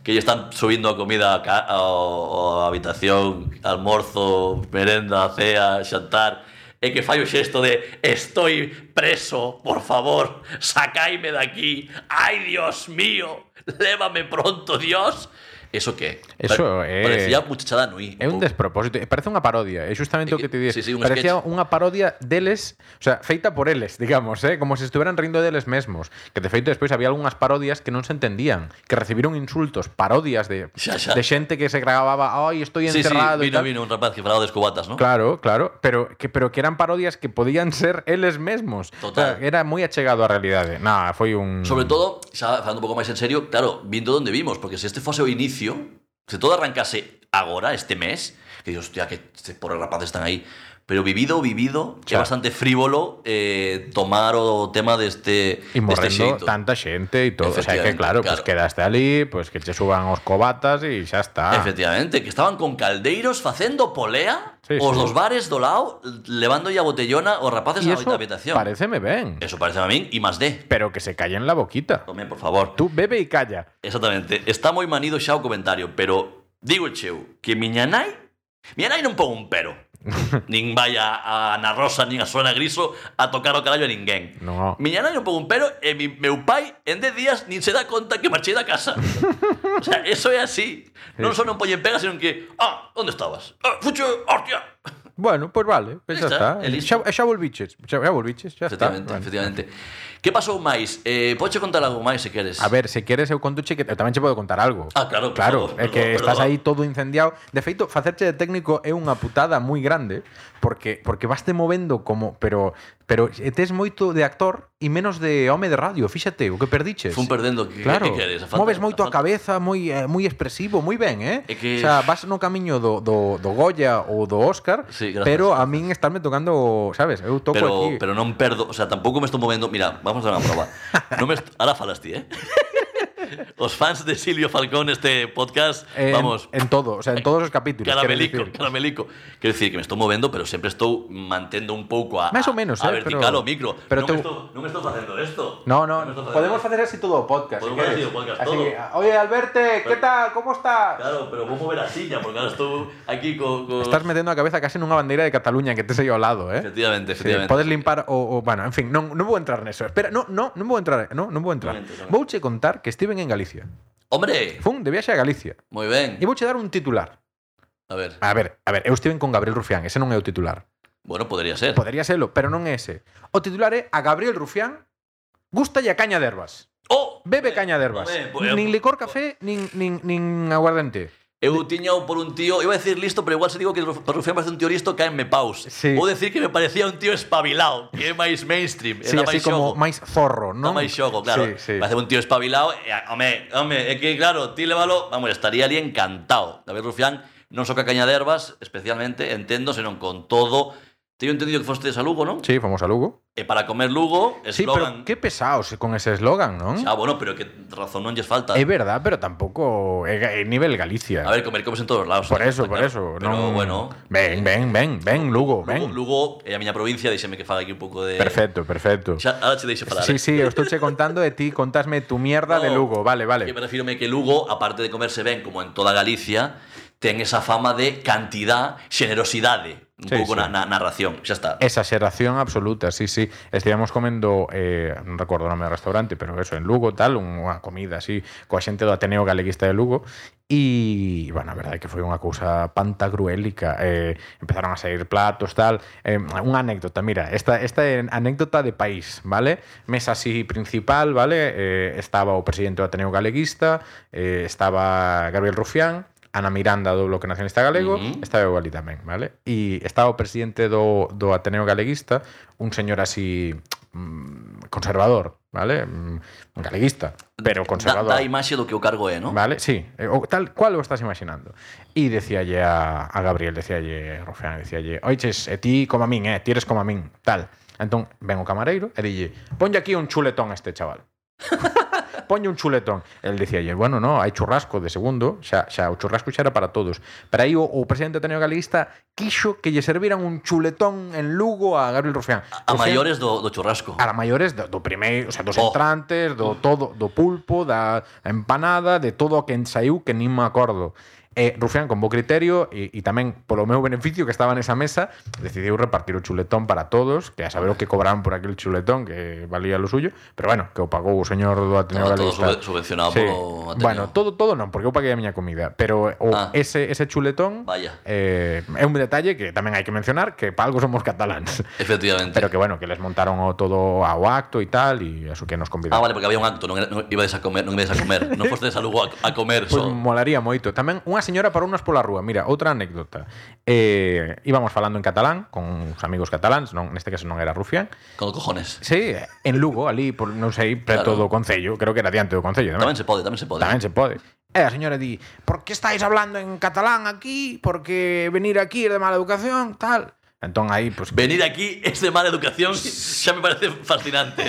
Speaker 2: que lle están subindo a comida a, ca- ao- ao habitación, almorzo, merenda, cea, xantar, e que fai o xesto de estoy preso, por favor, sacaime de aquí, ai, Dios mío, lévame pronto, Dios. Eso que?
Speaker 1: Eso é-
Speaker 2: Parecía muchachada nui.
Speaker 1: É un despropósito, E parece unha parodia, é justamente
Speaker 2: É
Speaker 1: o que
Speaker 2: que-
Speaker 1: te dixes.
Speaker 2: sí, sí, un
Speaker 1: Parecía
Speaker 2: sketch.
Speaker 1: unha parodia deles, o sea, feita por eles, digamos, eh, como se estuveran rindo deles mesmos, que de feito despois había algunhas parodias que non se entendían, que recibiron insultos, parodias de
Speaker 2: Xa, xa.
Speaker 1: de xente que se grababa, "Ai, estou
Speaker 2: Sí, sí,
Speaker 1: encerrado" e
Speaker 2: vino,
Speaker 1: tal.
Speaker 2: vino un rapaz que falaba de escobatas, ¿no?
Speaker 1: Claro, claro, pero que pero que eran parodias que podían ser eles mesmos. O sea,
Speaker 2: Total.
Speaker 1: era moi achegado á realidade. Nah, foi un
Speaker 2: Sobre todo, xa falando un pouco máis en serio, claro, vindo onde vimos, porque se este fose o inicio, se todo arrancase agora, este mes, que dios, hostia, que este por rapaces están aí, pero vivido, vivido, que é
Speaker 1: Xa.
Speaker 2: bastante frívolo eh, tomar o tema este, deste,
Speaker 1: E
Speaker 2: deste
Speaker 1: morrendo
Speaker 2: xeito.
Speaker 1: tanta xente e todo. O sea, que
Speaker 2: Efectivamente,
Speaker 1: claro,
Speaker 2: claro.
Speaker 1: pues quedaste ali, pues que che suban os cobatas e xa está.
Speaker 2: Efectivamente, que estaban con caldeiros facendo polea
Speaker 1: Sí,
Speaker 2: os
Speaker 1: sí.
Speaker 2: dos bares do lado, levando a botellona os rapaces
Speaker 1: Y
Speaker 2: á
Speaker 1: eso
Speaker 2: habitación.
Speaker 1: pareceme ben,
Speaker 2: Eso parece a min, y más de.
Speaker 1: pero que se callen la boquita.
Speaker 2: Home, por favor.
Speaker 1: Tú bebe e calla.
Speaker 2: Exactamente. Está moi manido xa o comentario, pero digo cheu que miña nai, miña nai non pon un pero. nin vai a, a Ana Rosa, nin a Suena Griso a tocar o carallo a ninguén.
Speaker 1: No.
Speaker 2: Miña nai non pon un pero e mi, meu pai en 10 días nin se dá conta que marchei da casa. o sea, eso é así. Non só non poñen pega, senón que, ah, onde estabas? Ah, fucho, hostia.
Speaker 1: Bueno, pues vale, pues
Speaker 2: Ahí
Speaker 1: xa
Speaker 2: está,
Speaker 1: está.
Speaker 2: é listo.
Speaker 1: Xa, xa volviches, xa, xa volviches, xa está.
Speaker 2: Efectivamente,
Speaker 1: Bueno.
Speaker 2: efectivamente. Que pasou máis? Eh, poche contar algo máis se queres?
Speaker 1: A ver, se queres eu contuche que eu tamén che podo contar algo.
Speaker 2: Ah, claro, por
Speaker 1: Claro,
Speaker 2: favor,
Speaker 1: é que
Speaker 2: perdón,
Speaker 1: estás
Speaker 2: perdón.
Speaker 1: aí todo incendiado. De feito, facerche de técnico é unha putada moi grande porque porque vaste movendo como, pero pero tes moito de actor e menos de home de radio, fíxate, o que perdiches.
Speaker 2: Fun perdendo que,
Speaker 1: Claro,
Speaker 2: que queres. A falta-
Speaker 1: moves moito a
Speaker 2: falta-
Speaker 1: cabeza, moi eh, moi expresivo, moi ben, eh?
Speaker 2: É
Speaker 1: O
Speaker 2: que-
Speaker 1: sea, vas no camiño do, do, do Goya ou do Óscar,
Speaker 2: Sí, gracias,
Speaker 1: pero a min estarme tocando, sabes, eu toco
Speaker 2: pero,
Speaker 1: aquí.
Speaker 2: pero non perdo, o sea, tampouco me estou movendo. Mira, vamos a hacer una proba. No me est- Ahora falas ti, eh? Os fans de Silvio Falcón este podcast,
Speaker 1: en,
Speaker 2: vamos,
Speaker 1: en todo, o sea, en todos os capítulos. quero
Speaker 2: caramelico,
Speaker 1: dicir.
Speaker 2: caramelico. Quero dicir que me estou movendo, pero sempre estou mantendo un pouco a
Speaker 1: Máis ou menos,
Speaker 2: a, a
Speaker 1: eh,
Speaker 2: vertical
Speaker 1: pero-
Speaker 2: o micro.
Speaker 1: pero
Speaker 2: non,
Speaker 1: tú-
Speaker 2: me estou, non me estou facendo esto.
Speaker 1: No, no,
Speaker 2: Non me estou facendo
Speaker 1: podemos
Speaker 2: esto.
Speaker 1: facer así todo o podcast.
Speaker 2: Podemos
Speaker 1: si queres.
Speaker 2: facer así o podcast,
Speaker 1: Así
Speaker 2: todo.
Speaker 1: que, oye, Alberte, ¿qué
Speaker 2: Pero-
Speaker 1: tal? ¿Cómo estás?
Speaker 2: Claro, pero vou mover a silla, porque ahora estou aquí co... co...
Speaker 1: Estás metendo a cabeza casi nunha bandeira de Cataluña que tes aí ao lado, eh?
Speaker 2: Efectivamente,
Speaker 1: Sí,
Speaker 2: efectivamente.
Speaker 1: podes limpar o, o bueno, en fin, non, non vou entrar neso. Espera, no, no, non vou entrar, no, non vou entrar.
Speaker 2: Non entres, non.
Speaker 1: Vouche contar que estiven en Galicia.
Speaker 2: Hombre,
Speaker 1: Fun de viaxe a Galicia.
Speaker 2: moi ben.
Speaker 1: E vouche dar un titular.
Speaker 2: A ver,
Speaker 1: A ver, a ver, eu estiven con Gabriel Rufián, ese non é o titular.
Speaker 2: bueno, podría ser.
Speaker 1: Podería serlo, pero non é ese. O titular é a Gabriel Rufián gusta a caña de ervas.
Speaker 2: Oh, pues,
Speaker 1: Bebe caña de ervas.
Speaker 2: Home, pois-
Speaker 1: Nin licor café, nin, nin, nin aguardente.
Speaker 2: Eu tiñao por un tío, iba a decir listo, pero igual se digo que Ruf- Rufián parece un tío listo, caenme paus.
Speaker 1: Sí.
Speaker 2: Ou decir que me parecía un tío espabilado, que é máis mainstream,
Speaker 1: Sí,
Speaker 2: era
Speaker 1: así
Speaker 2: máis
Speaker 1: como
Speaker 2: xogo.
Speaker 1: máis zorro,
Speaker 2: Era
Speaker 1: non?
Speaker 2: máis xogo, claro.
Speaker 1: Sí, sí.
Speaker 2: Parece un tío espabilado, e, a- home, home, é que claro, ti levalo, vamos, estaría ali encantado. David Rufián non soca caña de ervas, especialmente, entendo, senón con todo. Teño entendido que foste a Lugo, non?
Speaker 1: Sí, fomos a Lugo.
Speaker 2: E para comer Lugo,
Speaker 1: Sí, pero
Speaker 2: eslogan...
Speaker 1: qué pesados con ese eslogan, non?
Speaker 2: Ah, bueno, pero que razón non lles falta.
Speaker 1: É verdad, pero tampouco é ga- é nivel Galicia.
Speaker 2: A ver, comer comes en todos lados.
Speaker 1: por
Speaker 2: eh,
Speaker 1: eso,
Speaker 2: está
Speaker 1: por
Speaker 2: claro.
Speaker 1: eso.
Speaker 2: Pero
Speaker 1: non-
Speaker 2: bueno,
Speaker 1: Ben, ben, ben, ben, Lugo, ben.
Speaker 2: Lugo, Lugo é eh, a miña provincia, deixeme que faga aquí un pouco de...
Speaker 1: Perfecto, perfecto.
Speaker 2: Xa, ahora che deixo falar.
Speaker 1: Sí,
Speaker 2: eh.
Speaker 1: sí, eu estou che contando e ti contásme tu mierda de
Speaker 2: No,
Speaker 1: Lugo, vale,
Speaker 2: Que
Speaker 1: vale.
Speaker 2: me refirome que Lugo, aparte de comerse ben, como en toda Galicia, ten esa fama de cantidad, xenerosidade, un
Speaker 1: Sí,
Speaker 2: pouco
Speaker 1: sí.
Speaker 2: na, na narración, xa está.
Speaker 1: Exageración absoluta, sí, sí. Estivemos comendo, eh, non recordo o nome do restaurante, pero eso, en Lugo, tal, unha comida así, coa xente do Ateneo Galeguista de Lugo, e, bueno, a verdade é que foi unha cousa pantagruélica. Eh, empezaron a sair platos, tal. Eh, unha anécdota, mira, esta, esta é anécdota de país, vale? Mesa así principal, vale? Eh, estaba o presidente do Ateneo Galeguista, eh, estaba Gabriel Rufián, Ana Miranda do Bloque Nacionalista Galego,
Speaker 2: Ujú.
Speaker 1: estaba eu ali tamén, vale? E estaba o presidente do, do Ateneo Galeguista, un señor así mm, conservador, vale? Mm, Un galeguista, pero conservador.
Speaker 2: Da, da imaxe do que o cargo é, non?
Speaker 1: Vale, sí, eh, o tal cual o estás imaginando. E decíalle a, a Gabriel, decíalle a Rufián, decíalle, oiches, e ti como a min, eh, ti eres como a min, tal. Entón, ven o camareiro e dille, ponlle aquí un chuletón a este chaval. ponlle un chuletón. El dicíalle, bueno, no, hai churrasco de segundo, xa, xa o churrasco xa era para todos. Pero aí o, o presidente do Ateneo Galeguista quixo que lle serviran un chuletón en Lugo a Gabriel Rufián.
Speaker 2: A
Speaker 1: Rufián-
Speaker 2: maiores do, do churrasco.
Speaker 1: a la maiores do, do primeiro, o sea, dos
Speaker 2: Oh.
Speaker 1: entrantes, do todo, do pulpo, da empanada, de todo o que ensaiu que nin me acordo. E Rufián, con bo criterio, e, e tamén polo meu beneficio que estaba nesa mesa, decidiu repartir o chuletón para todos, que a saber o que cobraron por aquel chuletón, que valía lo suyo, pero bueno, que o pagou o señor do Ateneo
Speaker 2: Todo- todo
Speaker 1: Galeguista.
Speaker 2: sube- subvencionado polo Ateneo.
Speaker 1: Bueno, todo, todo non, porque eu paguei a miña comida, pero o,
Speaker 2: Ah.
Speaker 1: ese, ese chuletón
Speaker 2: Vaya.
Speaker 1: eh, é un detalle que tamén hai que mencionar, que para algo somos cataláns.
Speaker 2: Efectivamente.
Speaker 1: Pero que bueno, que les montaron o todo ao acto e tal, e eso que nos
Speaker 2: Ah,
Speaker 1: convidaron.
Speaker 2: vale, porque había un acto, non, era- non ibades a comer, non ibades a comer. non fostedes a Lugo a, a comer,
Speaker 1: Pois
Speaker 2: só.
Speaker 1: molaría moito. Tamén unha señora parou unas pola rúa. Mira, outra anécdota. Eh, íbamos falando en catalán con uns amigos cataláns, non, neste caso non era Rufián.
Speaker 2: Con cojones.
Speaker 1: Sí, en Lugo, ali, por, non sei, preto do
Speaker 2: Claro.
Speaker 1: Concello, creo que era diante do Concello.
Speaker 2: Tamén se pode, tamén se pode.
Speaker 1: Tamén se pode. E a señora di, por que estáis hablando en catalán aquí? Porque venir aquí é de mala educación, tal. Entón aí, pois... que-
Speaker 2: Venir aquí es de mala educación, xa me parece fascinante.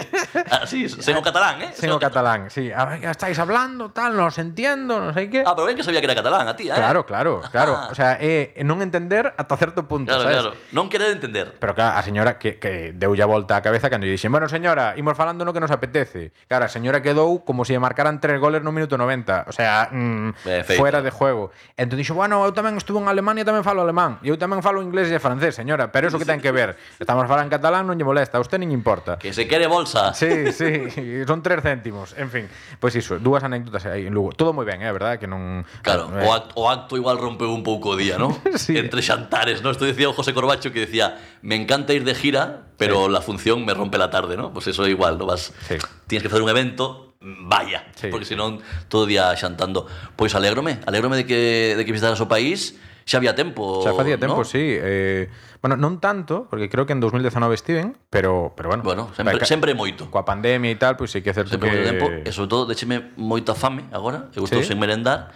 Speaker 2: Así, sen o catalán, eh?
Speaker 1: Sen o catalán, sí. A ver, estáis hablando, tal, non os entiendo, non sei que.
Speaker 2: Ah, pero ben que sabía que era catalán, a ti, eh?
Speaker 1: Claro, claro, claro.
Speaker 2: Ajá.
Speaker 1: O sea, é é non entender ata certo punto,
Speaker 2: Claro,
Speaker 1: sabes?
Speaker 2: claro. Non querer entender.
Speaker 1: Pero claro, a señora que, que deulle a volta a cabeza cando lle dixen Bueno, señora, imos falando no que nos apetece Claro, a señora quedou como se lle marcaran tres goles no minuto 90 O sea,
Speaker 2: Ben
Speaker 1: mm,
Speaker 2: feito.
Speaker 1: fuera de juego Entón dixo, bueno, eu tamén estuve en Alemania e tamén falo alemán E eu tamén falo inglés e francés, señora Pero eso que ten que ver Estamos falando en catalán, non lle molesta, a usted nin lle importa
Speaker 2: Que se quere bolsa.
Speaker 1: Sí, sí, son tres céntimos En fin, pois iso, dúas anécdotas aí en Lugo Todo moi ben, é eh, verdade que non...
Speaker 2: Claro,
Speaker 1: eh,
Speaker 2: o acto, o acto igual rompeu un pouco o día, ¿no?
Speaker 1: Sí.
Speaker 2: Entre xantares, ¿no? Esto decía o José Corbacho que decía, me encanta ir de gira, pero la función me rompe la tarde, ¿no? Pues eso igual, no vas...
Speaker 1: Sí.
Speaker 2: Tienes que facer un evento, vaya,
Speaker 1: Sí,
Speaker 2: porque
Speaker 1: sí.
Speaker 2: si non todo o día xantando. Pois alégrome, alégrome de que, de que visitaras o país, xa había tempo,
Speaker 1: Xa facía tempo,
Speaker 2: ¿no?
Speaker 1: sí. Eh, bueno, non tanto, porque creo que en 2019 estiven, pero, pero bueno.
Speaker 2: Bueno, sempre,
Speaker 1: Vai, ca-
Speaker 2: sempre é moito.
Speaker 1: Coa pandemia e tal, pois sí que é certo
Speaker 2: Sempre
Speaker 1: que...
Speaker 2: moito tempo, e sobre todo, décheme moita fame agora, eu estou
Speaker 1: Sí?
Speaker 2: sen merendar,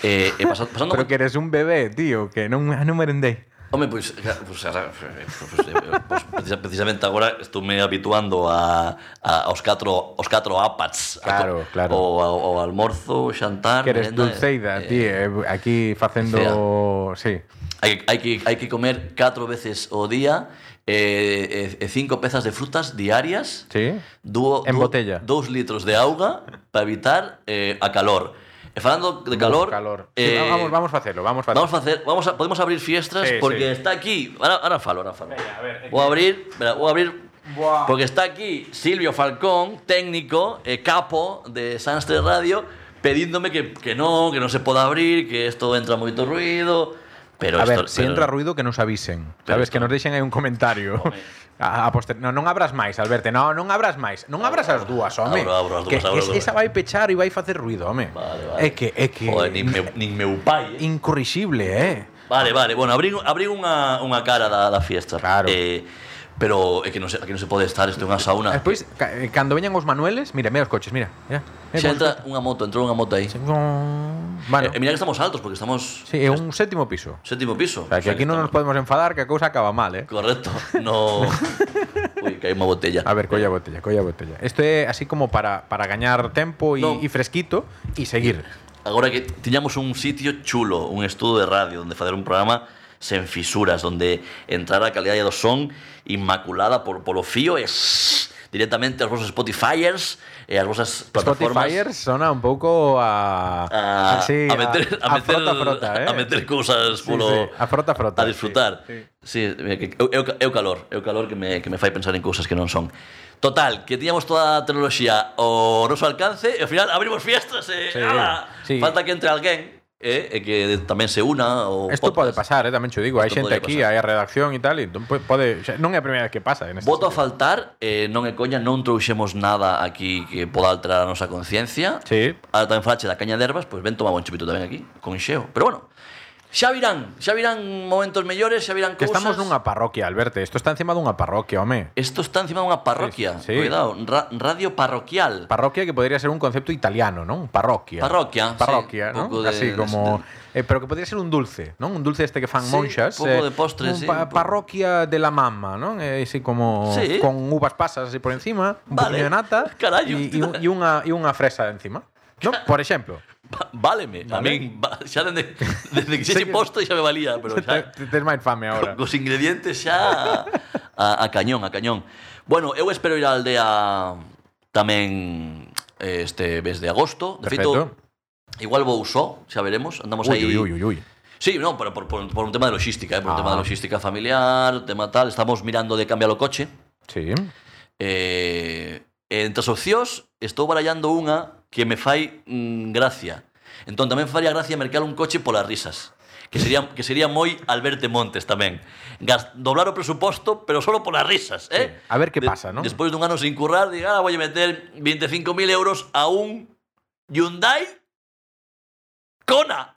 Speaker 2: e, e pasa- pasando
Speaker 1: Pero que eres un bebé, tío, que non, non merendei.
Speaker 2: Home, pois, ca- pois, ara, pois, eh, pois precisa- precisamente agora estou me habituando a, a aos catro aos catro apats,
Speaker 1: Claro,
Speaker 2: a, co-
Speaker 1: claro.
Speaker 2: O, ao, ao almorzo, o xantar,
Speaker 1: Que eres
Speaker 2: merenda,
Speaker 1: dulceida,
Speaker 2: Ah, eh,
Speaker 1: tío, eh, aquí facendo... Sí.
Speaker 2: Hai, hai que hai que comer catro veces o día eh, e, e cinco pezas de frutas diarias.
Speaker 1: Sí.
Speaker 2: Dúo,
Speaker 1: En
Speaker 2: dúo-
Speaker 1: botella.
Speaker 2: Dous litros de auga para evitar eh, a calor. E falando de calor,
Speaker 1: Uf, calor. Sí,
Speaker 2: eh,
Speaker 1: vamos, vamos facelo, vamos facelo.
Speaker 2: Vamos a hacer, vamos a, podemos abrir fiestas
Speaker 1: Sí,
Speaker 2: porque
Speaker 1: sí.
Speaker 2: está aquí. Ahora, ahora falo, ahora falo.
Speaker 1: Venga, a ver, es
Speaker 2: voy a abrir, espera, voy a abrir.
Speaker 1: Buah.
Speaker 2: Porque está aquí Silvio Falcón, técnico, eh, capo de Sanstre Radio, pidiéndome que, que no, que no se pueda abrir, que esto entra mucho ruido. Pero
Speaker 1: a
Speaker 2: esto,
Speaker 1: ver, se
Speaker 2: pero-
Speaker 1: entra ruido que nos avisen, sabes?
Speaker 2: esto-
Speaker 1: Que nos deixen aí un comentario. A, a poster... no, non abras máis, Alberto, no, non abras máis. Non abras as dúas, home.
Speaker 2: Abro, abro as dúas,
Speaker 1: que
Speaker 2: abro
Speaker 1: es-
Speaker 2: as dúas.
Speaker 1: esa vai pechar e vai facer ruido, home.
Speaker 2: Vale, vale.
Speaker 1: É que é que
Speaker 2: Joder, nin meu, nin meu pai, eh.
Speaker 1: incorrixible, eh.
Speaker 2: Vale, vale. Bueno, abrí, abrí unha, unha cara da, da fiesta.
Speaker 1: Claro.
Speaker 2: Eh, pero é que non se, aquí non se pode estar, isto é unha sauna.
Speaker 1: Despois ca- eh, cando veñan os manueles, mira, mira os coches, mira, mira. mira
Speaker 2: Xa
Speaker 1: como
Speaker 2: entra unha moto, entrou unha moto aí.
Speaker 1: os- Gong. Bueno,
Speaker 2: Eh, e mira que estamos altos, porque estamos
Speaker 1: sí, é un sétimo piso.
Speaker 2: séptimo
Speaker 1: O
Speaker 2: piso.
Speaker 1: sea, que aquí non nos podemos enfadar que a cousa acaba mal, eh.
Speaker 2: Correcto, no... Uy, que hai unha botella.
Speaker 1: A ver, colla a botella, colla a botella. Isto é así como para, para gañar tempo e
Speaker 2: Non.
Speaker 1: e fresquito e seguir.
Speaker 2: Agora que tiñamos un sitio chulo, un estudo de radio onde facer un programa sen fisuras, onde entrar a calidade do son inmaculada por polo fío e shhh, directamente aos vosos Spotifyers e ás vosas plataformas.
Speaker 1: Spotify sona un pouco a.
Speaker 2: A,
Speaker 1: Ah, sí,
Speaker 2: a meter, a, meter,
Speaker 1: frota, frota, eh?
Speaker 2: a meter cousas
Speaker 1: Sí,
Speaker 2: polo,
Speaker 1: sí, a frota, frota,
Speaker 2: a disfrutar.
Speaker 1: sí,
Speaker 2: Sí,
Speaker 1: sí.
Speaker 2: mira que eu, eu, eu calor, eu calor que me, que me fai pensar en cousas que non son. Total, que tiñamos toda a tecnoloxía ao noso alcance e ao final abrimos fiestas e
Speaker 1: Sí,
Speaker 2: ala,
Speaker 1: sí.
Speaker 2: falta que entre alguén eh, e que tamén se una o
Speaker 1: Esto pode
Speaker 2: podcast.
Speaker 1: pasar, eh, tamén che digo, hai
Speaker 2: Isto
Speaker 1: xente
Speaker 2: podría
Speaker 1: aquí,
Speaker 2: pasar.
Speaker 1: hai a redacción e tal, e entón po- pode, xa- non é a primeira vez que pasa en este
Speaker 2: Voto a
Speaker 1: sentido.
Speaker 2: faltar, eh, non é coña, non trouxemos nada aquí que poda alterar a nosa conciencia.
Speaker 1: Sí.
Speaker 2: Ahora tamén falache da caña de ervas, pois ven tomar un chupito tamén aquí, con xeo. Pero bueno, xa virán, xa virán momentos mellores, xa virán
Speaker 1: Que
Speaker 2: cousas.
Speaker 1: estamos nunha parroquia, Alberto, isto está encima dunha parroquia, home.
Speaker 2: Esto está encima dunha parroquia.
Speaker 1: Sí, sí.
Speaker 2: Cuidado, ra- radio parroquial.
Speaker 1: Parroquia que podría ser un concepto italiano, non? Parroquia.
Speaker 2: Parroquia,
Speaker 1: Parroquia,
Speaker 2: sí,
Speaker 1: non?
Speaker 2: pouco de-
Speaker 1: Así
Speaker 2: este
Speaker 1: como eh, pero que podría ser un dulce, non? Un dulce este que fan
Speaker 2: Sí,
Speaker 1: monxas,
Speaker 2: pouco de postre,
Speaker 1: un
Speaker 2: sí, un
Speaker 1: pa-
Speaker 2: pouco.
Speaker 1: parroquia de la mamma, non? Eh, así como
Speaker 2: Sí.
Speaker 1: con uvas pasas así por encima, un
Speaker 2: Vale.
Speaker 1: poquinho de nata
Speaker 2: Carallo.
Speaker 1: e e un- e unha e unha fresa encima. Non, por exemplo.
Speaker 2: Va- Váleme, a
Speaker 1: Vale.
Speaker 2: min va- xa dende, desde que
Speaker 1: Sei
Speaker 2: xe
Speaker 1: que-
Speaker 2: posto xa me valía, pero xa
Speaker 1: Te- Tes máis fame
Speaker 2: co-
Speaker 1: agora.
Speaker 2: cos ingredientes xa a, a cañón, a cañón. Bueno, eu espero ir á aldea tamén eh, este mes de agosto. De
Speaker 1: Perfecto.
Speaker 2: feito, igual vou só, xa veremos, andamos
Speaker 1: Uy,
Speaker 2: aí.
Speaker 1: uy, uy, uy, uy.
Speaker 2: Sí, no, pero por, por, por un tema de logística, eh, por un
Speaker 1: Ah.
Speaker 2: tema de logística familiar, tema tal, estamos mirando de cambiar o coche.
Speaker 1: Sí.
Speaker 2: Eh, entre as opcións, estou barallando unha que me fai mm, gracia. Entón tamén faría gracia mercar un coche polas risas. Que sería, que sería moi Alberto Montes tamén. Gas, doblar o presuposto, pero solo polas risas, eh?
Speaker 1: Sí. A ver que pasa, non?
Speaker 2: Despois dun ano sin currar, diga, ah, voy a meter 25.000 euros a un Hyundai Kona.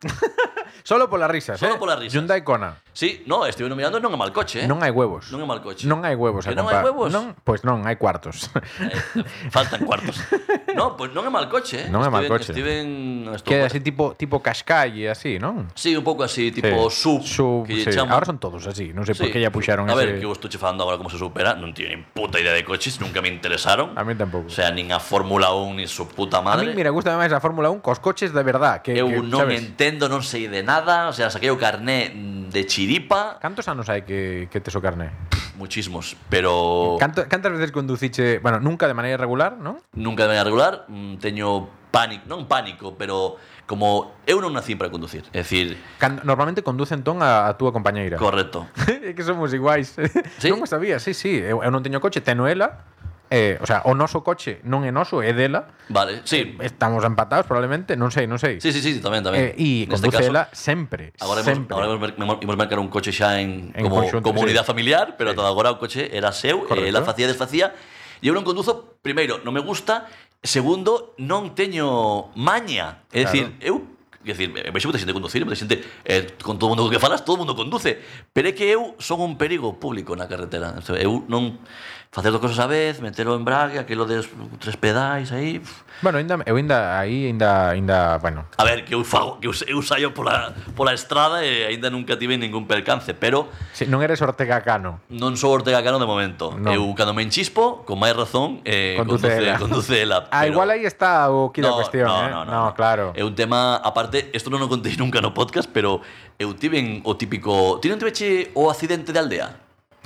Speaker 1: Solo polas risas,
Speaker 2: Solo
Speaker 1: eh?
Speaker 2: polas risas.
Speaker 1: Hyundai Kona.
Speaker 2: Sí, no, estive mirando e non é mal coche, eh?
Speaker 1: Non hai huevos.
Speaker 2: Non é mal coche.
Speaker 1: Non hai huevos a
Speaker 2: Que non
Speaker 1: comprar. pues
Speaker 2: hai huevos?
Speaker 1: Non, pois non, hai cuartos.
Speaker 2: Eh, Faltan cuartos. no, pois non é mal coche, eh?
Speaker 1: Non é mal
Speaker 2: Estiven-
Speaker 1: coche.
Speaker 2: Estiven, estou
Speaker 1: que é así tipo tipo cascalle así, non?
Speaker 2: Sí, un pouco así, tipo sub,
Speaker 1: Sub,
Speaker 2: que lle
Speaker 1: sí.
Speaker 2: chaman.
Speaker 1: Ahora son todos así, non sei por que
Speaker 2: Sí.
Speaker 1: ya puxaron
Speaker 2: A ver,
Speaker 1: ese.
Speaker 2: que eu estou che falando agora como se supera, non teño nin puta idea de coches, nunca me interesaron.
Speaker 1: A mí tampouco.
Speaker 2: O sea, nin a Fórmula 1, nin su puta
Speaker 1: a
Speaker 2: madre.
Speaker 1: mí, mira, gusta máis a Fórmula 1 cos coches de verdad, que,
Speaker 2: eu
Speaker 1: que
Speaker 2: non
Speaker 1: sabes,
Speaker 2: entendo, non sei de nada, o sea, saquei o carné de chiripa,
Speaker 1: Cantos anos hai que, que tes o carné?
Speaker 2: muchísimos, pero
Speaker 1: Canto, cantas veces conduciche, bueno, nunca de maneira regular, non?
Speaker 2: nunca de maneira regular, mm, teño pánico, non pánico, pero como eu non nací para conducir, é dicir,
Speaker 1: Can, normalmente conduce entón a, a túa compañeira.
Speaker 2: correcto.
Speaker 1: é que somos iguais.
Speaker 2: Sí?
Speaker 1: Non o sabía, sí, sí. Eu, eu non teño coche, teno ela. Eh, o sea, o noso coche non é noso, é dela.
Speaker 2: Vale, sí.
Speaker 1: Estamos empatados probablemente, non sei, non sei.
Speaker 2: Sí, sí, sí, tamén,
Speaker 1: Eh,
Speaker 2: tamén.
Speaker 1: e
Speaker 2: Neste
Speaker 1: conduce
Speaker 2: este caso-
Speaker 1: ela sempre,
Speaker 2: Agora imos,
Speaker 1: sempre.
Speaker 2: agora imos, mer- imos- imos mercar un coche xa en,
Speaker 1: En
Speaker 2: como
Speaker 1: conxunto,
Speaker 2: comunidade
Speaker 1: sí.
Speaker 2: familiar, pero ata agora o coche era seu,
Speaker 1: Correcto.
Speaker 2: e ela facía e desfacía. E eu non conduzo, primeiro, non me gusta, segundo, non teño maña. É
Speaker 1: Claro.
Speaker 2: dicir, eu É dicir, vexo moita xente conducir, moita xente eh, con todo mundo que falas, todo mundo conduce pero é que eu son un perigo público na carretera Entón, eu non facer dos cosas a vez, metelo en brague aquilo de tres pedais aí pff,
Speaker 1: Bueno, eh, ainda, eu ainda aí ainda ainda, bueno,
Speaker 2: A ver, que eu fago, que eu, eu saio pola, pola estrada e aínda nunca tive ningún percance, pero
Speaker 1: si non eres Ortega Cano.
Speaker 2: non sou Ortega Cano de momento.
Speaker 1: Non.
Speaker 2: No. Eu cando me enchispo, con máis razón, eh,
Speaker 1: Conduce
Speaker 2: conduce, conduce
Speaker 1: ela.
Speaker 2: ela. Conduce ela
Speaker 1: Ah, igual aí está o quid da cuestión, eh. claro.
Speaker 2: É un tema, aparte, isto non o contei nunca no podcast, pero eu tiven o típico... Ti non tiveche o accidente de aldea?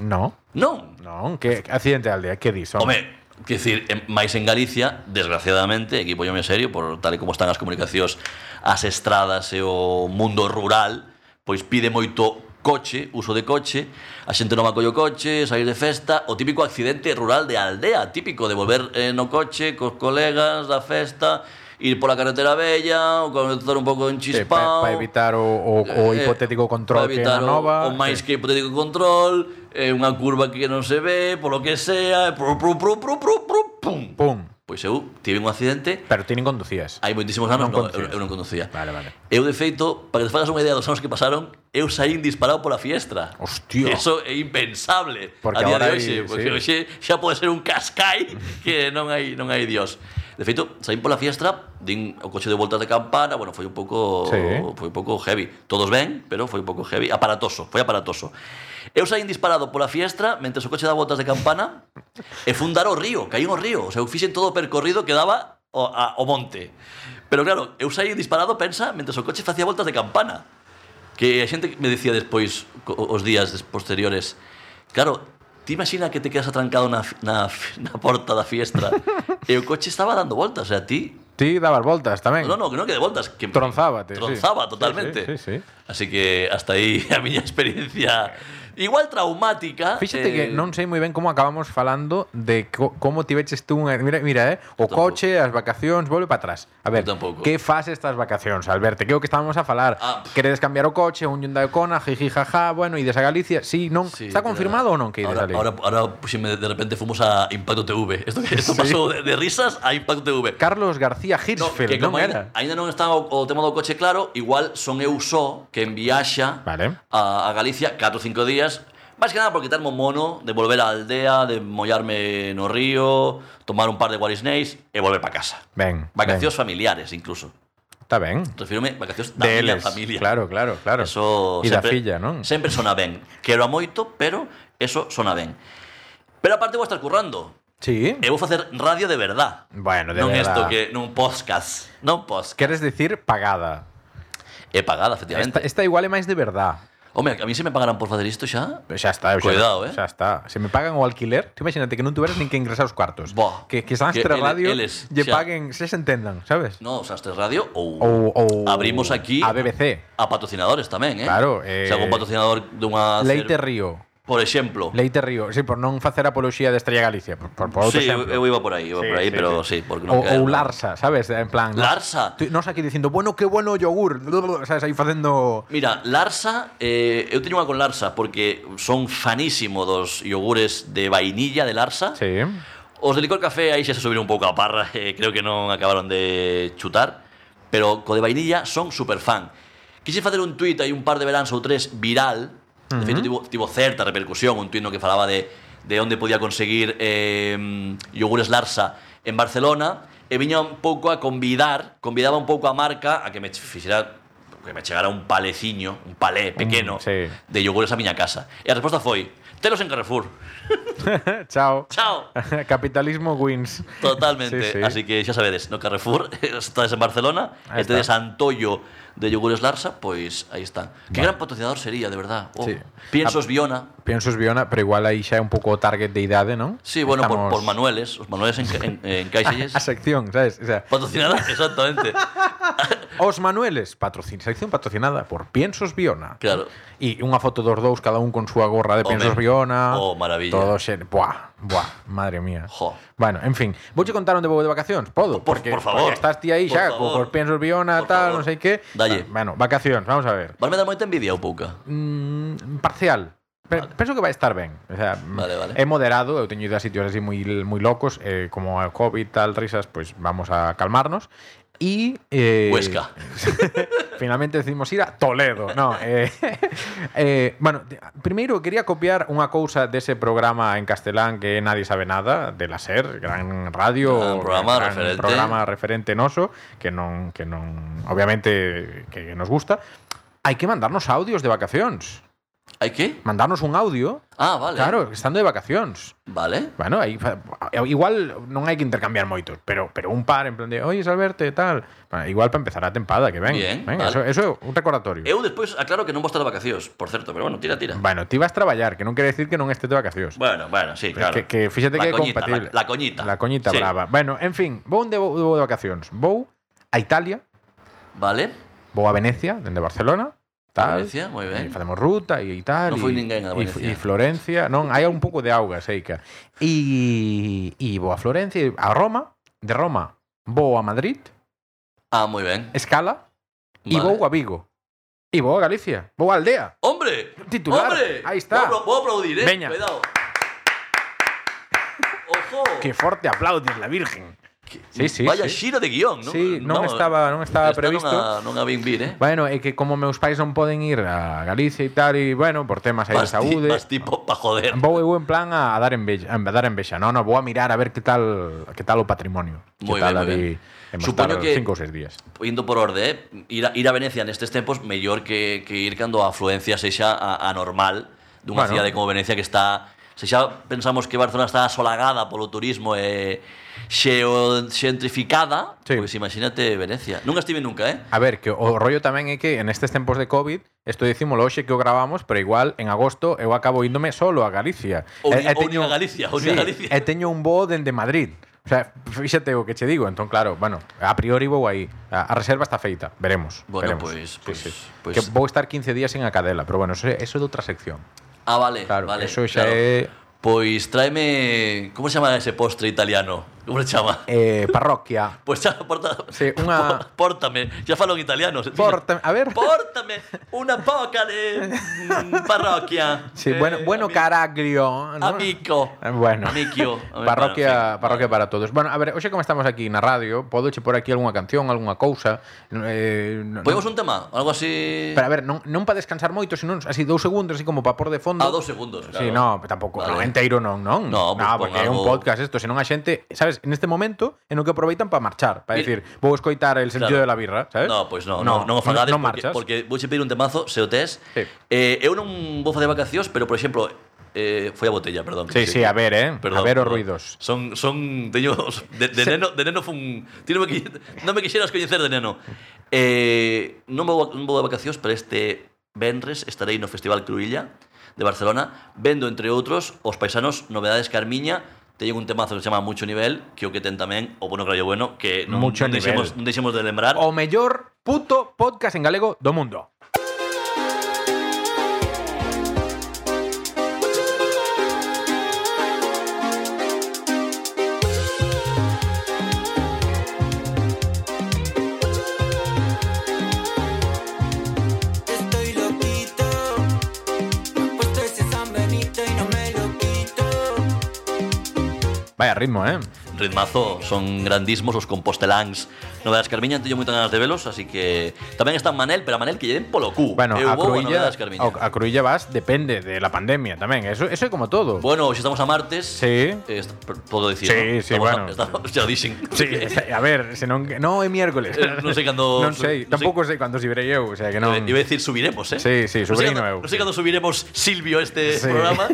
Speaker 1: No,
Speaker 2: Non.
Speaker 1: non, que que accidente de aldea, que dis?
Speaker 2: Home, que decir, en- máis en Galicia, desgraciadamente, aquí poñome serio, por tal e como están as comunicacións, as estradas e o mundo rural, pois pide moito coche, uso de coche, a xente non acolle o coche, sair de festa, o típico accidente rural de aldea, típico de volver eh, no coche cos colegas da festa, ir pola carretera bella, ou conductor un pouco
Speaker 1: Sí, Eh, pa-
Speaker 2: enchispado.
Speaker 1: pa evitar o, o, o
Speaker 2: Eh,
Speaker 1: hipotético control
Speaker 2: para
Speaker 1: que é na
Speaker 2: evitar o-
Speaker 1: nova.
Speaker 2: O
Speaker 1: sí.
Speaker 2: máis que hipotético control, eh, unha curva que non se ve, polo que sea, e pru, pru, pru, pru, pru, pru, pum.
Speaker 1: Pum.
Speaker 2: Pois eu tive un accidente
Speaker 1: Pero ti nin conducías.
Speaker 2: hai moitísimos anos,
Speaker 1: Non
Speaker 2: non,
Speaker 1: conducías.
Speaker 2: eu, eu non conducía.
Speaker 1: Vale, vale.
Speaker 2: Eu, de feito, para que te fagas unha idea dos anos que pasaron, eu saín disparado pola fiestra.
Speaker 1: Hostia.
Speaker 2: Eso é impensable
Speaker 1: Porque
Speaker 2: a día
Speaker 1: ahora
Speaker 2: de
Speaker 1: hai-
Speaker 2: hoxe, porque
Speaker 1: sí.
Speaker 2: hoxe xa pode ser un cascai que non hai non hai dios. De feito, saín pola fiestra, din o coche de voltas de campana, bueno, foi un pouco
Speaker 1: Sí.
Speaker 2: foi un pouco heavy. Todos ben, pero foi un pouco heavy, aparatoso, foi aparatoso. Eu saín disparado pola fiestra, mentre o coche dá voltas de campana, e fundar o río, caí no río. O sea, eu fixen todo o percorrido que daba o, a, o monte. Pero claro, eu saí disparado, pensa, mentre o coche facía voltas de campana. Que a xente me decía despois, co- os días des- posteriores, claro, ti imagina que te quedas atrancado na, fi- na, fi- na porta da fiestra e o coche estaba dando voltas, o sea, ti...
Speaker 1: Ti dabas voltas tamén.
Speaker 2: No, no, que non que de voltas, que
Speaker 1: Tronzábate, sí.
Speaker 2: Tronzaba
Speaker 1: Sí,
Speaker 2: totalmente.
Speaker 1: sí, sí, sí.
Speaker 2: Así que hasta aí a miña experiencia igual traumática.
Speaker 1: Fíxate que
Speaker 2: eh,
Speaker 1: non sei moi ben como acabamos falando de co como tiveches tú unha... Mira, mira, eh? O
Speaker 2: Tampouco.
Speaker 1: coche, as vacacións, volve para atrás. A ver,
Speaker 2: Eu tampouco.
Speaker 1: que fas estas vacacións, Alberto? Que é o que estábamos a falar?
Speaker 2: Ah, pff.
Speaker 1: Queredes cambiar o coche, un Hyundai Kona, jiji, jaja, bueno, ides a Galicia? Sí, non.
Speaker 2: sí,
Speaker 1: Está confirmado
Speaker 2: pero
Speaker 1: ou non que ides a
Speaker 2: ahora,
Speaker 1: Galicia?
Speaker 2: ahora, ahora, pues, si me- de repente fuimos a Impacto TV. Esto, esto pasó de, de risas a Impacto TV.
Speaker 1: Carlos García
Speaker 2: No,
Speaker 1: Hirschfeld,
Speaker 2: que
Speaker 1: non,
Speaker 2: como
Speaker 1: era?
Speaker 2: ainda, ainda non está o, o tema do coche claro, igual son eu só que enviaxa
Speaker 1: Vale.
Speaker 2: a, a Galicia 4 ou 5 días, máis que nada por quitarme o mono de volver á aldea, de mollarme no río, tomar un par de guarisneis e volver para casa.
Speaker 1: Ben,
Speaker 2: Vacacións familiares incluso.
Speaker 1: ben. Está ben.
Speaker 2: Refírome vacacións da
Speaker 1: De eles,
Speaker 2: miña familia.
Speaker 1: claro, claro, claro.
Speaker 2: Eso
Speaker 1: e da filla, non?
Speaker 2: Sempre sona ben. Quero a moito, pero eso sona ben. Pero aparte vou estar currando.
Speaker 1: Sí.
Speaker 2: E vou facer radio de verdad.
Speaker 1: Bueno, de
Speaker 2: non
Speaker 1: verdad.
Speaker 2: isto que non podcast, non podcast.
Speaker 1: Queres decir pagada.
Speaker 2: É pagada,
Speaker 1: Esta,
Speaker 2: efectivamente.
Speaker 1: esta igual é máis de verdad.
Speaker 2: Home, a mí se me pagaran por facer isto xa.
Speaker 1: Pero Xa Pues está, eu xa,
Speaker 2: Cuidado, eh.
Speaker 1: xa está. Se me pagan o alquiler, tú imagínate que non tuveras nin que ingresar os cuartos.
Speaker 2: Buah.
Speaker 1: que, que Sastre
Speaker 2: Que eles-
Speaker 1: Radio
Speaker 2: eles,
Speaker 1: lle
Speaker 2: xa.
Speaker 1: paguen, se se entendan, sabes?
Speaker 2: No, o Sastres Radio ou,
Speaker 1: Ou, ou
Speaker 2: abrimos aquí
Speaker 1: a BBC.
Speaker 2: a patrocinadores tamén, eh?
Speaker 1: Claro, eh,
Speaker 2: Se algún patrocinador dunha cer-
Speaker 1: Leite Río.
Speaker 2: por exemplo.
Speaker 1: Leite Río, sí, por non facer apoloxía de Estrella Galicia, por, por, por outro
Speaker 2: sí, eu,
Speaker 1: exemplo.
Speaker 2: eu iba por aí, iba
Speaker 1: Sí,
Speaker 2: por aí,
Speaker 1: sí,
Speaker 2: pero sí, porque non
Speaker 1: ou,
Speaker 2: caer,
Speaker 1: ou
Speaker 2: non.
Speaker 1: Larsa, sabes? En plan, nos-
Speaker 2: Larsa?
Speaker 1: tú- Nós aquí dicindo, bueno, que bueno o yogur, sabes, aí facendo
Speaker 2: Mira, Larsa, eh, eu teño unha con Larsa porque son fanísimo dos iogures de vainilla de Larsa.
Speaker 1: Sí.
Speaker 2: Os de licor café aí xa se subiron un pouco a parra, eh, creo que non acabaron de chutar, pero co de vainilla son superfan. Quise facer un tuit aí un par de veráns ou tres viral, de feito tivo, tivo certa repercusión, un tuit no que falaba de, de onde podía conseguir eh, yogures Larsa en Barcelona, e viña un pouco a convidar, convidaba un pouco a marca a que me fixera que me chegara un paleciño, un palé pequeno
Speaker 1: sí.
Speaker 2: de yogures a miña casa. E a resposta foi, telos en Carrefour.
Speaker 1: Chao.
Speaker 2: Chao.
Speaker 1: Capitalismo wins.
Speaker 2: Totalmente.
Speaker 1: Sí, sí.
Speaker 2: Así que xa sabedes, no Carrefour, estades en Barcelona,
Speaker 1: Ahí
Speaker 2: este de
Speaker 1: está.
Speaker 2: Santollo de Yogures Larsa, pues pois aí están. Que gran patrocinador sería, de verdad. Oh,
Speaker 1: Sí. Ah.
Speaker 2: Piensos Viona.
Speaker 1: Piensos Biona, pero igual aí xa é un pouco o target de idade, non?
Speaker 2: Sí, bueno, por,
Speaker 1: Estamos- Ah,
Speaker 2: por Manueles, os Manueles en, en, en Caixelles.
Speaker 1: A sección, sabes? O sea,
Speaker 2: Patrocinada, exactamente.
Speaker 1: Os Manueles, patrocin sección patrocinada por Piensos Biona.
Speaker 2: Claro.
Speaker 1: E unha foto dos dous, cada un con súa gorra de
Speaker 2: Home.
Speaker 1: Piensos Biona.
Speaker 2: Oh, maravilla.
Speaker 1: Todo xe... Buah, buah, madre mía.
Speaker 2: Jo.
Speaker 1: Bueno, en fin. Vouche contar onde vou de vacacións? Podo?
Speaker 2: Por- por favor.
Speaker 1: Porque estás ti aí
Speaker 2: Por
Speaker 1: xa,
Speaker 2: favor.
Speaker 1: co- cos Piensos Biona,
Speaker 2: Por
Speaker 1: tal, non
Speaker 2: favor.
Speaker 1: sei que.
Speaker 2: Dalle.
Speaker 1: Ah, Bueno, vacacións, vamos a ver.
Speaker 2: Vas me dar moita envidia ou pouca?
Speaker 1: Mm, parcial. Pe Penso que vai estar ben. O sea, mm,
Speaker 2: Vale, vale.
Speaker 1: É moderado, eu teño ido a sitios así moi, moi locos, eh, como a COVID, tal, risas, pois pues vamos a calmarnos. E... Eh,
Speaker 2: Huesca.
Speaker 1: Finalmente decidimos ir a Toledo. No, eh, eh, bueno, te- primeiro quería copiar unha cousa dese programa en castelán que é Nadie sabe nada, de la SER, gran radio,
Speaker 2: Gran programa
Speaker 1: gran
Speaker 2: referente.
Speaker 1: programa referente noso, que non que non obviamente que nos gusta. Hai que mandarnos audios de vacacións.
Speaker 2: Hai que?
Speaker 1: Mandarnos un audio,
Speaker 2: Ah, vale.
Speaker 1: claro, estando de vacacións.
Speaker 2: Vale.
Speaker 1: Bueno, aí fa- igual non hai que intercambiar moitos, pero pero un par en plan de, "Oye, Alberto, tal". Bueno, igual para empezar a tempada, que ven.
Speaker 2: Bien,
Speaker 1: ven
Speaker 2: vale.
Speaker 1: eso, eso é un recordatorio.
Speaker 2: Eu despois aclaro que non vou estar de vacacións, por certo, pero bueno, tira, tira.
Speaker 1: Bueno, ti vas traballar, que non quere decir que non estes de vacacións.
Speaker 2: Bueno, bueno, sí, claro.
Speaker 1: Que, que fíxate
Speaker 2: La
Speaker 1: que é
Speaker 2: coñita,
Speaker 1: compatible.
Speaker 2: La, la coñita.
Speaker 1: La coñita
Speaker 2: Sí.
Speaker 1: brava. Bueno, en fin, vou onde vou, vou de vacacións? Vou a Italia,
Speaker 2: Vale.
Speaker 1: vou a Venecia, dende Barcelona, tal.
Speaker 2: Venecia, moi
Speaker 1: E
Speaker 2: ben.
Speaker 1: facemos ruta e tal.
Speaker 2: Non
Speaker 1: e-
Speaker 2: foi ninguén a
Speaker 1: e- E
Speaker 2: Venecia.
Speaker 1: Florencia, non, hai un pouco de auga, seica. E, e vou a Florencia, e a Roma, de Roma vou a Madrid,
Speaker 2: Ah, moi ben.
Speaker 1: escala, e
Speaker 2: Vale.
Speaker 1: vou a Vigo. E vou a Galicia, vou a Aldea.
Speaker 2: ¡Hombre!
Speaker 1: Titular.
Speaker 2: ¡Hombre!
Speaker 1: Ahí está.
Speaker 2: Voy a apla- voy a aplaudir, ¿eh?
Speaker 1: Veña.
Speaker 2: Cuidado. ¡Ojo!
Speaker 1: Que forte aplaudes la Virgen. Sí, sí,
Speaker 2: Vaya
Speaker 1: sí.
Speaker 2: xira de guión, ¿no? este
Speaker 1: Sí, non estaba- non estaba previsto.
Speaker 2: Non a, non a ben vir, eh?
Speaker 1: Bueno, é que como meus pais non poden ir a Galicia e tal, e bueno, por temas aí de
Speaker 2: Vas ti-
Speaker 1: saúde,
Speaker 2: vas tipo pa joder.
Speaker 1: vou eu Em en plan a dar envexa, a dar envexa. No, no, vou a mirar a ver que tal, que tal o patrimonio. que
Speaker 2: Moi
Speaker 1: tal ali
Speaker 2: ben, moi ben.
Speaker 1: en
Speaker 2: Supoño
Speaker 1: estar
Speaker 2: que-
Speaker 1: cinco ou seis días.
Speaker 2: Indo por orde, eh? ir, a, ir a Venecia nestes tempos mellor que, que ir cando a afluencia sexa a, a normal
Speaker 1: Bueno.
Speaker 2: dunha bueno. cidade como Venecia que está se xa pensamos que Barcelona está asolagada polo turismo e xeo, xentrificada,
Speaker 1: Sí.
Speaker 2: pois imagínate Venecia. Nunca estive nunca, eh?
Speaker 1: A ver, que o rollo tamén é que en estes tempos de COVID, isto dicimos hoxe que o gravamos, pero igual en agosto eu acabo índome solo a Galicia.
Speaker 2: Ou
Speaker 1: E-
Speaker 2: ni-
Speaker 1: e
Speaker 2: ou nin a Galicia, ou nin a Galicia.
Speaker 1: E teño un voo dende Madrid. O sea, fíxate o que che digo, entón claro, bueno, a priori vou aí. A, a reserva está feita, veremos.
Speaker 2: Bueno,
Speaker 1: veremos.
Speaker 2: pues, pois- pois- pois-
Speaker 1: Que vou estar 15 días en a cadela, pero bueno, eso, eso é de outra sección.
Speaker 2: Ah, vale,
Speaker 1: Claro,
Speaker 2: vale.
Speaker 1: eso xa
Speaker 2: claro.
Speaker 1: é-
Speaker 2: Pois tráeme, como se chama ese postre italiano? Como se chama?
Speaker 1: Eh, parroquia.
Speaker 2: Pois xa, porta,
Speaker 1: Sí, unha-
Speaker 2: por- pórtame, xa falo en italiano. se-
Speaker 1: Porta- a ver.
Speaker 2: Pórtame una poca de mm, parroquia.
Speaker 1: Sí,
Speaker 2: Eh,
Speaker 1: bueno, bueno
Speaker 2: ami-
Speaker 1: caraglio. ¿no?
Speaker 2: Amico.
Speaker 1: Eh, Bueno.
Speaker 2: Amiquio.
Speaker 1: Parroquia, parroquia para todos. Bueno, a ver, hoxe como estamos aquí na radio, podo che por aquí algunha canción, algunha cousa. Eh, no-
Speaker 2: Podemos un tema, algo así...
Speaker 1: Pero a ver, non, non para descansar moito, senón así dous segundos, así como para por de fondo.
Speaker 2: A dos Ah, segundos, claro.
Speaker 1: Sí, no, tampouco,
Speaker 2: Vale.
Speaker 1: no enteiro non, non.
Speaker 2: No, pues pois pon
Speaker 1: porque é un
Speaker 2: algo-
Speaker 1: podcast isto, senón a xente, sabes, neste momento en o que aproveitan para marchar, para
Speaker 2: Mira.
Speaker 1: decir, vou escoitar el sentido de la
Speaker 2: Claro.
Speaker 1: birra, sabes?
Speaker 2: No, pois non, no, non o fagades
Speaker 1: non
Speaker 2: porque,
Speaker 1: marchas.
Speaker 2: porque vouche pedir un temazo, se o tes.
Speaker 1: Sí.
Speaker 2: Eh, eu non vou facer vacacións, pero por exemplo, eh, foi a botella, perdón.
Speaker 1: Sí, sí, a ver, eh,
Speaker 2: Perdón,
Speaker 1: a ver os
Speaker 2: perdón.
Speaker 1: ruidos.
Speaker 2: Son, son, teño, de, de, neno, de neno fun, ti non me, qui- non me quixeras coñecer de neno. Eh, non, vou, non vou de vacacións, pero este Benres estarei no Festival Cruilla de Barcelona, vendo, entre outros, os paisanos Novedades Carmiña, teñen un temazo que se chama Mucho Nivel, que o que ten tamén, o bueno, creo bueno, que non,
Speaker 1: Mucho
Speaker 2: non,
Speaker 1: Nivel. Oh.
Speaker 2: deixemos, non deixemos de lembrar.
Speaker 1: O mellor puto podcast en galego do mundo.
Speaker 3: Estoy loquito, me he puesto ese San Benito y no me lo quito.
Speaker 1: Vaya ritmo, eh.
Speaker 2: ritmazo, son grandísimos os composteláns. Novedades Carmiña, teño moitas ganas de velos, así que tamén está Manel, pero a Manel que lle den polo cu.
Speaker 1: Bueno,
Speaker 2: Eu
Speaker 1: a
Speaker 2: vou
Speaker 1: Cruilla,
Speaker 2: Novedades Carmiña.
Speaker 1: a Cruilla vas depende de la pandemia tamén, eso eso é como todo.
Speaker 2: Bueno, hoxe estamos a martes.
Speaker 1: Sí.
Speaker 2: Eh, est- p- podo dicir,
Speaker 1: Sí,
Speaker 2: non?
Speaker 1: sí,
Speaker 2: Estamos
Speaker 1: bueno.
Speaker 2: A, estamos, xa o dixen.
Speaker 1: Sí, a ver, senón que no é miércoles.
Speaker 2: Eh, non sei cando-
Speaker 1: Non sei,
Speaker 2: non sei-
Speaker 1: tampouco sei cando si verei eu, o sea que non.
Speaker 2: Eh, Iba a decir subiremos, eh?
Speaker 1: Sí, sí,
Speaker 2: Non sei
Speaker 1: subirino
Speaker 2: cando-
Speaker 1: eu.
Speaker 2: Non sei cando subiremos Silvio este
Speaker 1: Sí.
Speaker 2: programa,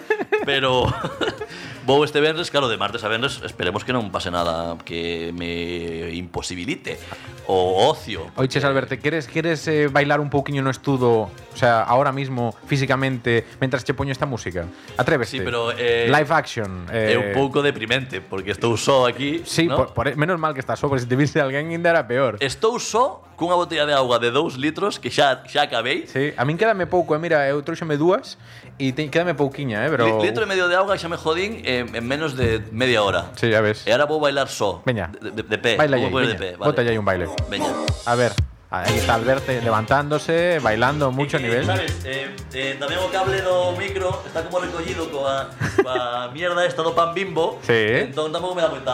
Speaker 2: pero vou este venres, claro, de martes a venres, esperemos que non pase nada que me imposibilite o ocio.
Speaker 1: Oiches, Alberto, queres queres eh, bailar un pouquiño no estudo, o sea, ahora mismo físicamente mentras che poño esta música? Atréveste.
Speaker 2: Sí, pero, eh,
Speaker 1: live action. Eh,
Speaker 2: É un pouco deprimente, porque estou só aquí.
Speaker 1: Sí,
Speaker 2: ¿no?
Speaker 1: por- por- menos mal que estás só, porque se te viste alguén ainda era peor.
Speaker 2: Estou só cunha botella de agua de 2 litros que xa xa acabei.
Speaker 1: Sí, a min quédame pouco, eh, mira, eu trouxeme dúas e te, quédame pouquiña, eh, pero
Speaker 2: Li- Litro e medio de auga xa me jodín eh, en menos de media hora.
Speaker 1: Sí, ya ves.
Speaker 2: E agora vou bailar só.
Speaker 1: Veña.
Speaker 2: De, de, de pé.
Speaker 1: Baila
Speaker 2: Vou
Speaker 1: aí,
Speaker 2: poner
Speaker 1: veña.
Speaker 2: de pé, vale.
Speaker 1: Bótalle aí un baile.
Speaker 2: Veña.
Speaker 1: A ver, aí está Alberto levantándose, bailando mucho
Speaker 2: Eh,
Speaker 1: nivel.
Speaker 2: Sabes, eh, eh, tamén o cable do micro está como recollido coa, coa mierda esta do pan bimbo.
Speaker 1: Sí.
Speaker 2: Entón tampouco me dá moita...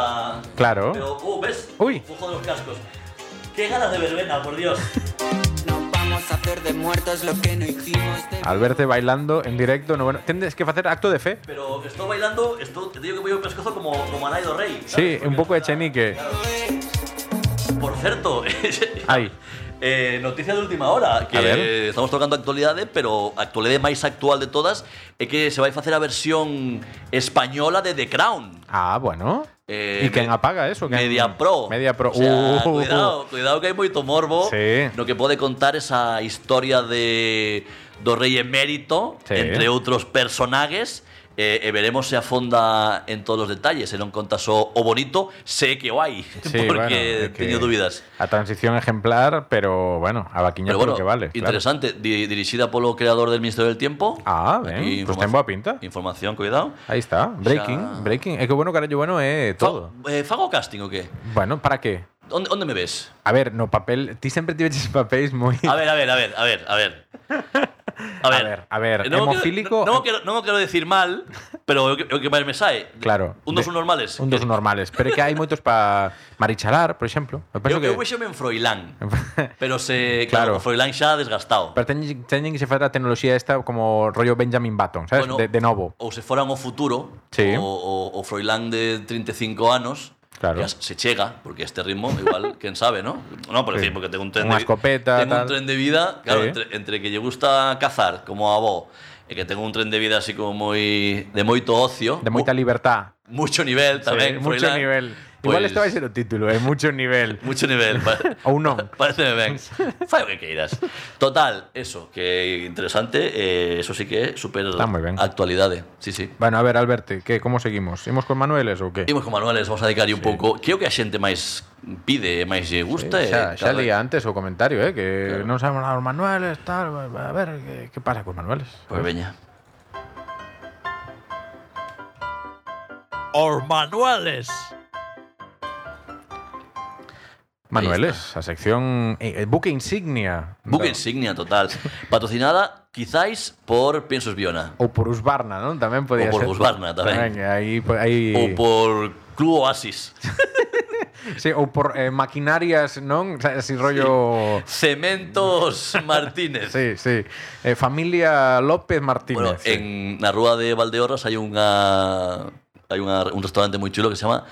Speaker 1: Claro.
Speaker 2: Pero, uh, ves?
Speaker 1: Ui.
Speaker 2: Fujo de los cascos. Qué ganas de verbena, por Dios.
Speaker 3: Nos vamos a hacer de muertos lo que no hicimos de
Speaker 1: Alberto bailando en directo, no bueno, tendes que facer acto de fe.
Speaker 2: Pero estou bailando, estou, te digo que voy ao pescozo como, como a Naido Rey.
Speaker 1: Sí,
Speaker 2: ¿sabes?
Speaker 1: un
Speaker 2: Porque
Speaker 1: pouco de
Speaker 2: está-
Speaker 1: chenique.
Speaker 2: Por certo,
Speaker 1: Ai.
Speaker 2: eh, noticia de última hora
Speaker 1: A ver.
Speaker 2: que estamos tocando actualidade, pero a actualidade máis actual de todas é que se vai facer a versión española de The Crown.
Speaker 1: Ah, bueno.
Speaker 2: Eh,
Speaker 1: ¿Y quién
Speaker 2: me-
Speaker 1: apaga eso? ¿Quién-
Speaker 2: Media Pro.
Speaker 1: Media Pro.
Speaker 2: O
Speaker 1: Uh,
Speaker 2: sea, cuidado, cuidado que hai moito morbo
Speaker 1: Sí.
Speaker 2: no que pode contar esa historia de do rei emérito,
Speaker 1: Sí.
Speaker 2: entre outros personajes, eh, e veremos se afonda en todos os detalles, se non contas o, o bonito, sé que o hai,
Speaker 1: Sí,
Speaker 2: porque
Speaker 1: bueno, es que
Speaker 2: teño dúbidas.
Speaker 1: A transición ejemplar, pero bueno, a vaquiña
Speaker 2: Pero
Speaker 1: por
Speaker 2: bueno,
Speaker 1: lo que vale. claro.
Speaker 2: interesante, di- dirixida polo creador del Ministerio del Tiempo.
Speaker 1: Ah, ben,
Speaker 2: Aquí
Speaker 1: pues
Speaker 2: informa-
Speaker 1: ten boa pinta.
Speaker 2: Información, cuidado.
Speaker 1: Ahí está. Breaking,
Speaker 2: Xa-
Speaker 1: breaking. Es que bueno, carallo, bueno, eh, todo.
Speaker 2: Fa- eh, fago casting o qué?
Speaker 1: Bueno, ¿para qué?
Speaker 2: Onde, onde me ves?
Speaker 1: A ver, no papel, ti sempre tiveches papéis moi
Speaker 2: A ver, a ver, a ver, a ver, a ver.
Speaker 1: A ver, a ver,
Speaker 2: o
Speaker 1: hemofílico-
Speaker 2: Quero, non, o quero, non o quero decir mal, pero é o que, é o que máis me sae.
Speaker 1: Claro.
Speaker 2: Un dos
Speaker 1: De-
Speaker 2: un normales.
Speaker 1: un dos normales, pero é que hai moitos para marichalar, por exemplo. Eu penso
Speaker 2: Eu,
Speaker 1: que
Speaker 2: eu vexome en Froilán. pero se...
Speaker 1: Claro.
Speaker 2: Claro. claro. Froilán xa desgastado.
Speaker 1: pero teñen, teñen que se facer a tecnoloxía esta como rollo Benjamin Button, sabes?
Speaker 2: Bueno,
Speaker 1: de, de novo.
Speaker 2: Ou se foran ao futuro,
Speaker 1: Sí.
Speaker 2: o, o, o Froilán de 35 anos,
Speaker 1: Claro.
Speaker 2: que as- se chega, porque este ritmo, igual, quen sabe, ¿no? No, por
Speaker 1: Sí.
Speaker 2: decir, porque tengo un tren
Speaker 1: Unha
Speaker 2: de vi-
Speaker 1: escopeta,
Speaker 2: Tengo
Speaker 1: tal.
Speaker 2: un tren de vida, claro,
Speaker 1: Sí.
Speaker 2: entre, entre que lle gusta cazar, como a vos, e que tengo un tren de vida así como moi de moito ocio,
Speaker 1: De moita
Speaker 2: mu-
Speaker 1: libertad.
Speaker 2: mucho nivel
Speaker 1: Sí,
Speaker 2: tamén,
Speaker 1: mucho
Speaker 2: Froilán,
Speaker 1: nivel.
Speaker 2: pois,
Speaker 1: Igual este vai ser o título, é mucho nivel.
Speaker 2: Mucho nivel, pa-
Speaker 1: Ou non.
Speaker 2: Pareceme ben. Fai o que queiras. Total, eso, que interesante, eh, eso sí que é super
Speaker 1: Está moi ben.
Speaker 2: actualidade. Sí, sí.
Speaker 1: Bueno, a ver, Alberto, que como seguimos? Imos con Manueles ou que?
Speaker 2: Imos con manuales, vamos a dedicarlle un pouco Que é o que a xente máis pide, e máis lle gusta
Speaker 1: Eh, xa,
Speaker 2: e,
Speaker 1: xa
Speaker 2: cada-
Speaker 1: lía antes o comentario, eh,
Speaker 2: Pues
Speaker 1: que non sabemos nada dos manuales, tal, a ver, que, que pasa cos manuales?
Speaker 2: Pois veña
Speaker 4: Or manuales.
Speaker 1: Manueles, la sección. eh, eh, buque insignia.
Speaker 2: Buque
Speaker 1: Da-
Speaker 2: insignia total. Patrocinada quizáis por Piensos Biona.
Speaker 1: O por Usbarna, ¿no? También podía
Speaker 2: O por
Speaker 1: ser.
Speaker 2: Husqvarna, tamén.
Speaker 1: que Ahí, po- ahí-
Speaker 2: O por Club Oasis.
Speaker 1: sí, o por eh, maquinarias, ¿no? O sea, Así rollo...
Speaker 2: Cementos Martínez.
Speaker 1: Sí, sí. Eh, familia López Martínez.
Speaker 2: Bueno,
Speaker 1: sí.
Speaker 2: en la Rúa de Valdeorras hay unha hai unha, un restaurante moi chulo que se chama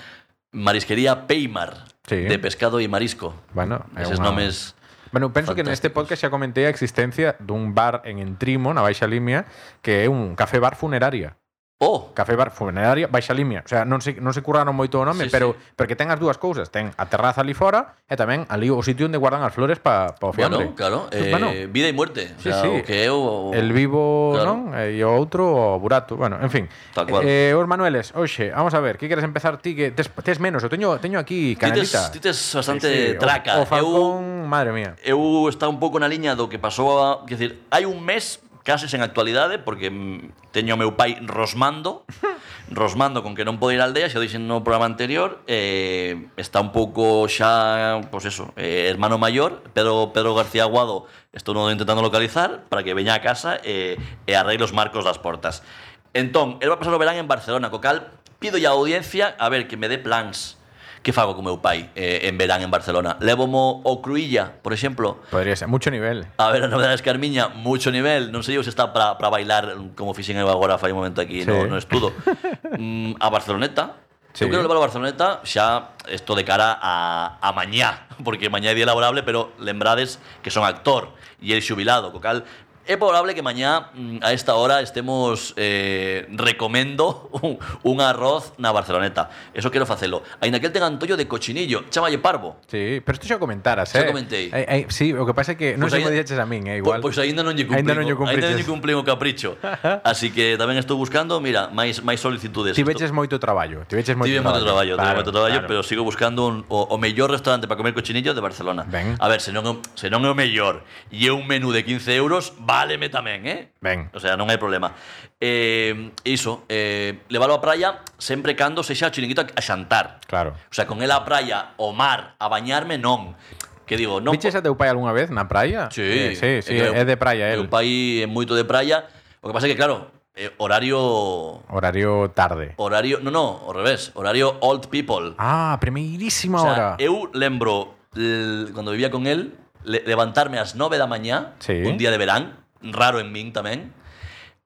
Speaker 2: Marisquería Peimar
Speaker 1: Sí. Ah,
Speaker 2: de pescado e marisco.
Speaker 1: Bueno, é
Speaker 2: Eses
Speaker 1: unha-
Speaker 2: nomes
Speaker 1: Bueno, penso que neste podcast xa comentei a existencia dun bar en Entrimo, na Baixa Limia, que é un café bar funeraria.
Speaker 2: Oh,
Speaker 1: Café bar funeraria, Baixa Limia. O sea, non se, non se curraron moito o nome,
Speaker 2: Sí,
Speaker 1: pero,
Speaker 2: sí.
Speaker 1: pero que ten as dúas cousas. Ten a terraza ali fora e tamén ali o sitio onde guardan as flores para pa o
Speaker 2: bueno,
Speaker 1: fiambre.
Speaker 2: claro,
Speaker 1: Sí,
Speaker 2: eh,
Speaker 1: bueno.
Speaker 2: vida e muerte, o
Speaker 1: Sí,
Speaker 2: sea,
Speaker 1: sí.
Speaker 2: o que é o, o
Speaker 1: El vivo, non?
Speaker 2: Claro.
Speaker 1: Eh, E o outro, o burato. Bueno, en fin.
Speaker 2: Tal cual.
Speaker 1: Eh, os Manueles, oxe, vamos a ver, que queres empezar ti? Que tes, tes menos, eu teño, teño aquí
Speaker 2: Ti tes-
Speaker 1: canalita.
Speaker 2: ti tes bastante
Speaker 1: o-
Speaker 2: traca.
Speaker 1: O, Falcón, madre mía.
Speaker 2: eu está un pouco na liña do que pasou a, quer dizer, hai un mes case sen actualidade porque mm, teño o meu pai rosmando rosmando con que non pode ir á aldea xa o dixen no programa anterior eh, está un pouco xa pois eso, eh, hermano maior pero Pedro García Aguado estou no intentando localizar para que veña a casa eh, e arregle os marcos das portas entón, el va pasar o verán en Barcelona co cal pido a audiencia a ver que me dé plans Que fago con meu pai eh, en verán en Barcelona? Levomo o Cruilla, por exemplo,
Speaker 1: Podría ser, mucho nivel.
Speaker 2: a ver a novedades Carmiña, mucho nivel, non sei eu se está para para bailar como fixen eu agora fai un momento
Speaker 1: Sí.
Speaker 2: aquí no, no estudo. mm, a Barceloneta,
Speaker 1: Sí.
Speaker 2: Eu quero levar a Barceloneta xa isto de cara a, a mañá, porque mañá é día laborable, pero lembrades que son actor e el xubilado, co cal é probable que mañá mm, a esta hora estemos eh, recomendo un, un arroz na Barceloneta. Eso quero facelo. Aínda que el ten antollo de cochinillo, chámalle parvo.
Speaker 1: Sí, pero isto xa o comentaras, eh?
Speaker 2: Xa comentei.
Speaker 1: Eh, eh, sí, o que pasa é que non
Speaker 2: Pois
Speaker 1: sei
Speaker 2: aínda-
Speaker 1: como dixeches a min, eh,
Speaker 2: Po-
Speaker 1: igual.
Speaker 2: Pois aínda non lle
Speaker 1: Aínda
Speaker 2: cumplín.
Speaker 1: non lle cumpriches.
Speaker 2: Aínda non lle cumplín o capricho. Así que tamén estou buscando, mira, máis máis solicitudes.
Speaker 1: Ti veches moito traballo, ti veches moito
Speaker 2: Tive moito traballo, tive
Speaker 1: Claro,
Speaker 2: moito traballo,
Speaker 1: claro.
Speaker 2: pero sigo buscando un, o, o mellor restaurante para comer cochinillo de Barcelona.
Speaker 1: Ben.
Speaker 2: A ver, se non, é o- se non é o mellor e é un menú de 15 euros, váleme tamén, eh?
Speaker 1: Ben.
Speaker 2: O sea, non hai problema. Eh, iso, eh, levalo á praia sempre cando sexa o chiringuito a a xantar.
Speaker 1: Claro.
Speaker 2: O sea, con ela á praia, o mar, a bañarme, non. Que digo, non...
Speaker 1: Viches a teu pai algunha vez na praia?
Speaker 2: Sí,
Speaker 1: Eh, sí, sí,
Speaker 2: que
Speaker 1: é de praia
Speaker 2: meu
Speaker 1: el.
Speaker 2: pai é moito de praia. O que pasa é que claro, eh, horario
Speaker 1: Horario tarde.
Speaker 2: horario, no, no, ao revés, horario old people.
Speaker 1: Ah, primeirísima
Speaker 2: o
Speaker 1: hora.
Speaker 2: sea, eu lembro l- cando vivía con él le- levantarme ás 9 da mañá,
Speaker 1: Sí.
Speaker 2: un día de verán, raro en min tamén.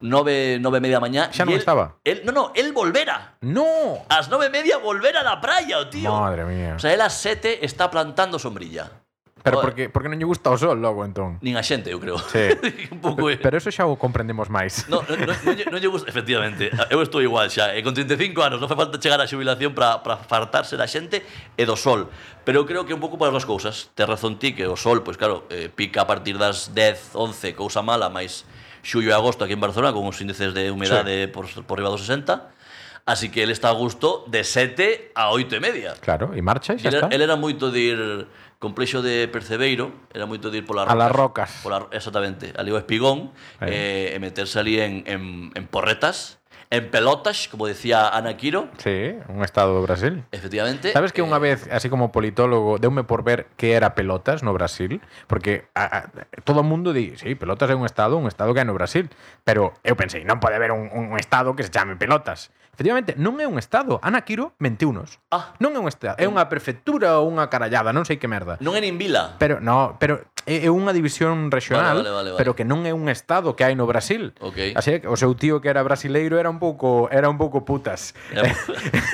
Speaker 2: 9, 9 e media da mañá.
Speaker 1: Xa
Speaker 2: e
Speaker 1: non
Speaker 2: él-
Speaker 1: estaba.
Speaker 2: él- no, no, él volvera.
Speaker 1: No.
Speaker 2: Ás 9 e media volvera da praia, o tío.
Speaker 1: Madre mía.
Speaker 2: O sea, él ás 7 está plantando sombrilla.
Speaker 1: pero
Speaker 2: joder.
Speaker 1: porque porque non lle gusta o sol logo entón.
Speaker 2: Nin a xente, eu creo.
Speaker 1: Sí.
Speaker 2: un pouco é-
Speaker 1: pero eso xa o comprendemos máis.
Speaker 2: No, no, no, non lle- non lle gusta, efectivamente. Eu estou igual xa, e con 35 anos non fai falta chegar á xubilación para fartarse da xente e do sol. Pero eu creo que un pouco para as cousas. Te razón ti que o sol, pois claro, eh, pica a partir das 10, 11, cousa mala, máis xullo e agosto aquí en Barcelona con os índices de humedade por, por riba dos 60. Así que ele está a gusto de 7 a 8 e media.
Speaker 1: Claro, e marcha e xa
Speaker 2: Él era,
Speaker 1: está.
Speaker 2: él era moito de ir complexo de Percebeiro, era moito de ir polas
Speaker 1: A las rocas.
Speaker 2: Pola, exactamente, ali o Espigón,
Speaker 1: Eh.
Speaker 2: eh. e meterse ali en, en, en porretas, en pelotas, como decía Ana Quiro,
Speaker 1: Sí, un estado do Brasil.
Speaker 2: efectivamente.
Speaker 1: Sabes que
Speaker 2: eh,
Speaker 1: unha vez, así como politólogo, deume por ver que era pelotas no Brasil, porque a, a, todo o mundo di, sí, pelotas é un estado, un estado que hai no Brasil, pero eu pensei, non pode haber un, un estado que se chame pelotas. Efectivamente, non é un estado. Ana Quiro mentiunos.
Speaker 2: Ah.
Speaker 1: Non é un estado, é unha prefectura ou unha carallada, non sei que merda.
Speaker 2: Non en Vila.
Speaker 1: Pero no, pero é é unha división regional,
Speaker 2: Vale, vale, vale, vale.
Speaker 1: pero que non é un estado que hai no Brasil.
Speaker 2: Ok.
Speaker 1: Así é que o seu tío que era brasileiro era un pouco era un pouco putas.
Speaker 2: Era,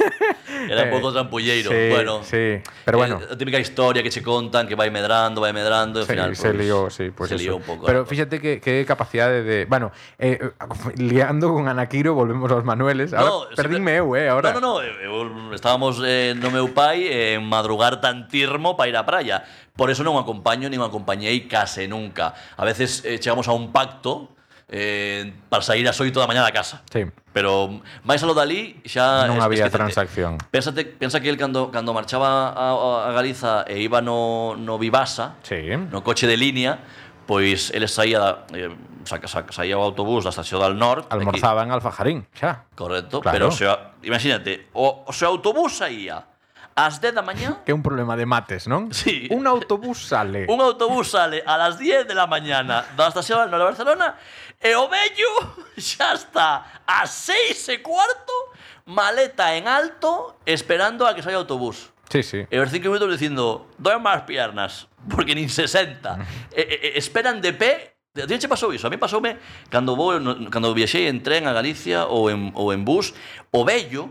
Speaker 2: era un pouco trampolleiro.
Speaker 1: Eh, Sí,
Speaker 2: bueno,
Speaker 1: sí, pero bueno.
Speaker 2: eh, a típica historia que che contan, que vai medrando, vai medrando, e ao
Speaker 1: Se,
Speaker 2: final...
Speaker 1: se
Speaker 2: pois,
Speaker 1: lió, sí, pues
Speaker 2: se
Speaker 1: eso.
Speaker 2: lió un pouco.
Speaker 1: Pero
Speaker 2: la cosa.
Speaker 1: fíjate que, que capacidade de... Bueno, eh, liando con Anaquiro, volvemos aos Manueles. Ahora,
Speaker 2: sempre-
Speaker 1: perdínme eu, eh, ahora.
Speaker 2: No, no, no, eu- eu- estábamos eh, no meu pai eh, en madrugar tan tirmo para ir á praia. Por eso non o acompaño nin o acompañei case nunca. A veces eh, chegamos a un pacto eh, para sair ás 8 da mañá da casa.
Speaker 1: Sí,
Speaker 2: Pero máis a lo dali xa
Speaker 1: non
Speaker 2: Ah, es-
Speaker 1: había
Speaker 2: esquecete.
Speaker 1: transacción.
Speaker 2: Pénsate, pensa que el cando, cando marchaba a, a Galiza e iba no, no Vivasa,
Speaker 1: Sí.
Speaker 2: no coche de línea, pois eles saía da, eh, sa, sa, saía o autobús da estación del norte
Speaker 1: Almorzaba en Alfajarín, xa.
Speaker 2: Correcto,
Speaker 1: Claro.
Speaker 2: pero o seu, imagínate, o, o seu autobús saía ás 10 da mañá,
Speaker 1: Que é un problema de mates, non?
Speaker 2: Sí.
Speaker 1: Un autobús sale.
Speaker 2: un autobús sale a las 10 de la mañana da estación del norte de Barcelona e o vello xa está a 6 e cuarto maleta en alto esperando a que saia o autobús.
Speaker 1: Sí, sí.
Speaker 2: E os 5 minutos dicindo, doen más piernas, porque nin 60. e, e, e, esperan de pé A ti che pasou iso? A mí pasoume cando vou no- cando viaxei en tren a Galicia ou en, ou en bus, o vello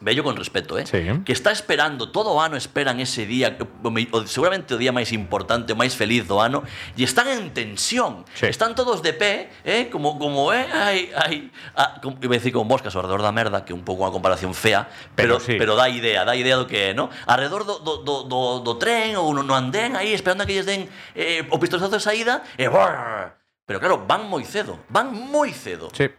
Speaker 2: vello con respeto, eh?
Speaker 1: Sí.
Speaker 2: Que está esperando, todo o ano esperan ese día, o me- o, seguramente o día máis importante, o máis feliz do ano, e están en tensión.
Speaker 1: Sí.
Speaker 2: Están todos de pé, eh? como, como eh? ai, ai, ah, como, iba a decir como moscas ao redor da merda, que é un pouco unha comparación fea,
Speaker 1: Pero
Speaker 2: pero, pero,
Speaker 1: sí.
Speaker 2: dá idea, dá idea do que é, ¿no? Alrededor do, do, do, do, do tren ou no, no andén aí esperando a que lles den eh, o pistolazo de saída e brrr. Pero claro, van moi cedo, van moi cedo.
Speaker 1: Sí.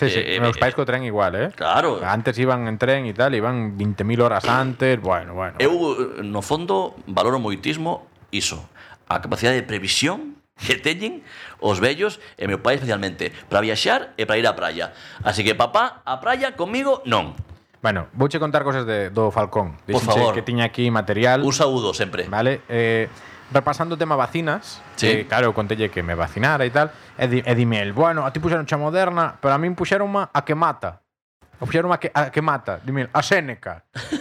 Speaker 1: Sí, sí.
Speaker 2: Eh,
Speaker 1: Meus
Speaker 2: eh,
Speaker 1: pais co tren igual, eh?
Speaker 2: Claro.
Speaker 1: Antes iban en tren e tal, iban 20.000 horas antes, bueno, bueno.
Speaker 2: Eu eh, no fondo valoro moitismo iso, a capacidade de previsión que teñen os vellos e meu pai especialmente para viaxar e para ir á praia. Así que papá, a praia comigo non.
Speaker 1: Bueno, vouche contar cosas de, do Falcón.
Speaker 2: Por
Speaker 1: Dixenche
Speaker 2: favor.
Speaker 1: que tiña aquí material.
Speaker 2: Un saúdo sempre.
Speaker 1: Vale, eh, repasando o tema vacinas, que,
Speaker 2: Sí.
Speaker 1: claro, eu contelle que me vacinara e tal, e, di, e dime el, bueno, a ti puxeron xa moderna, pero a min puxeron má a que mata. O puxeron a que, a que mata, dime el, a Seneca.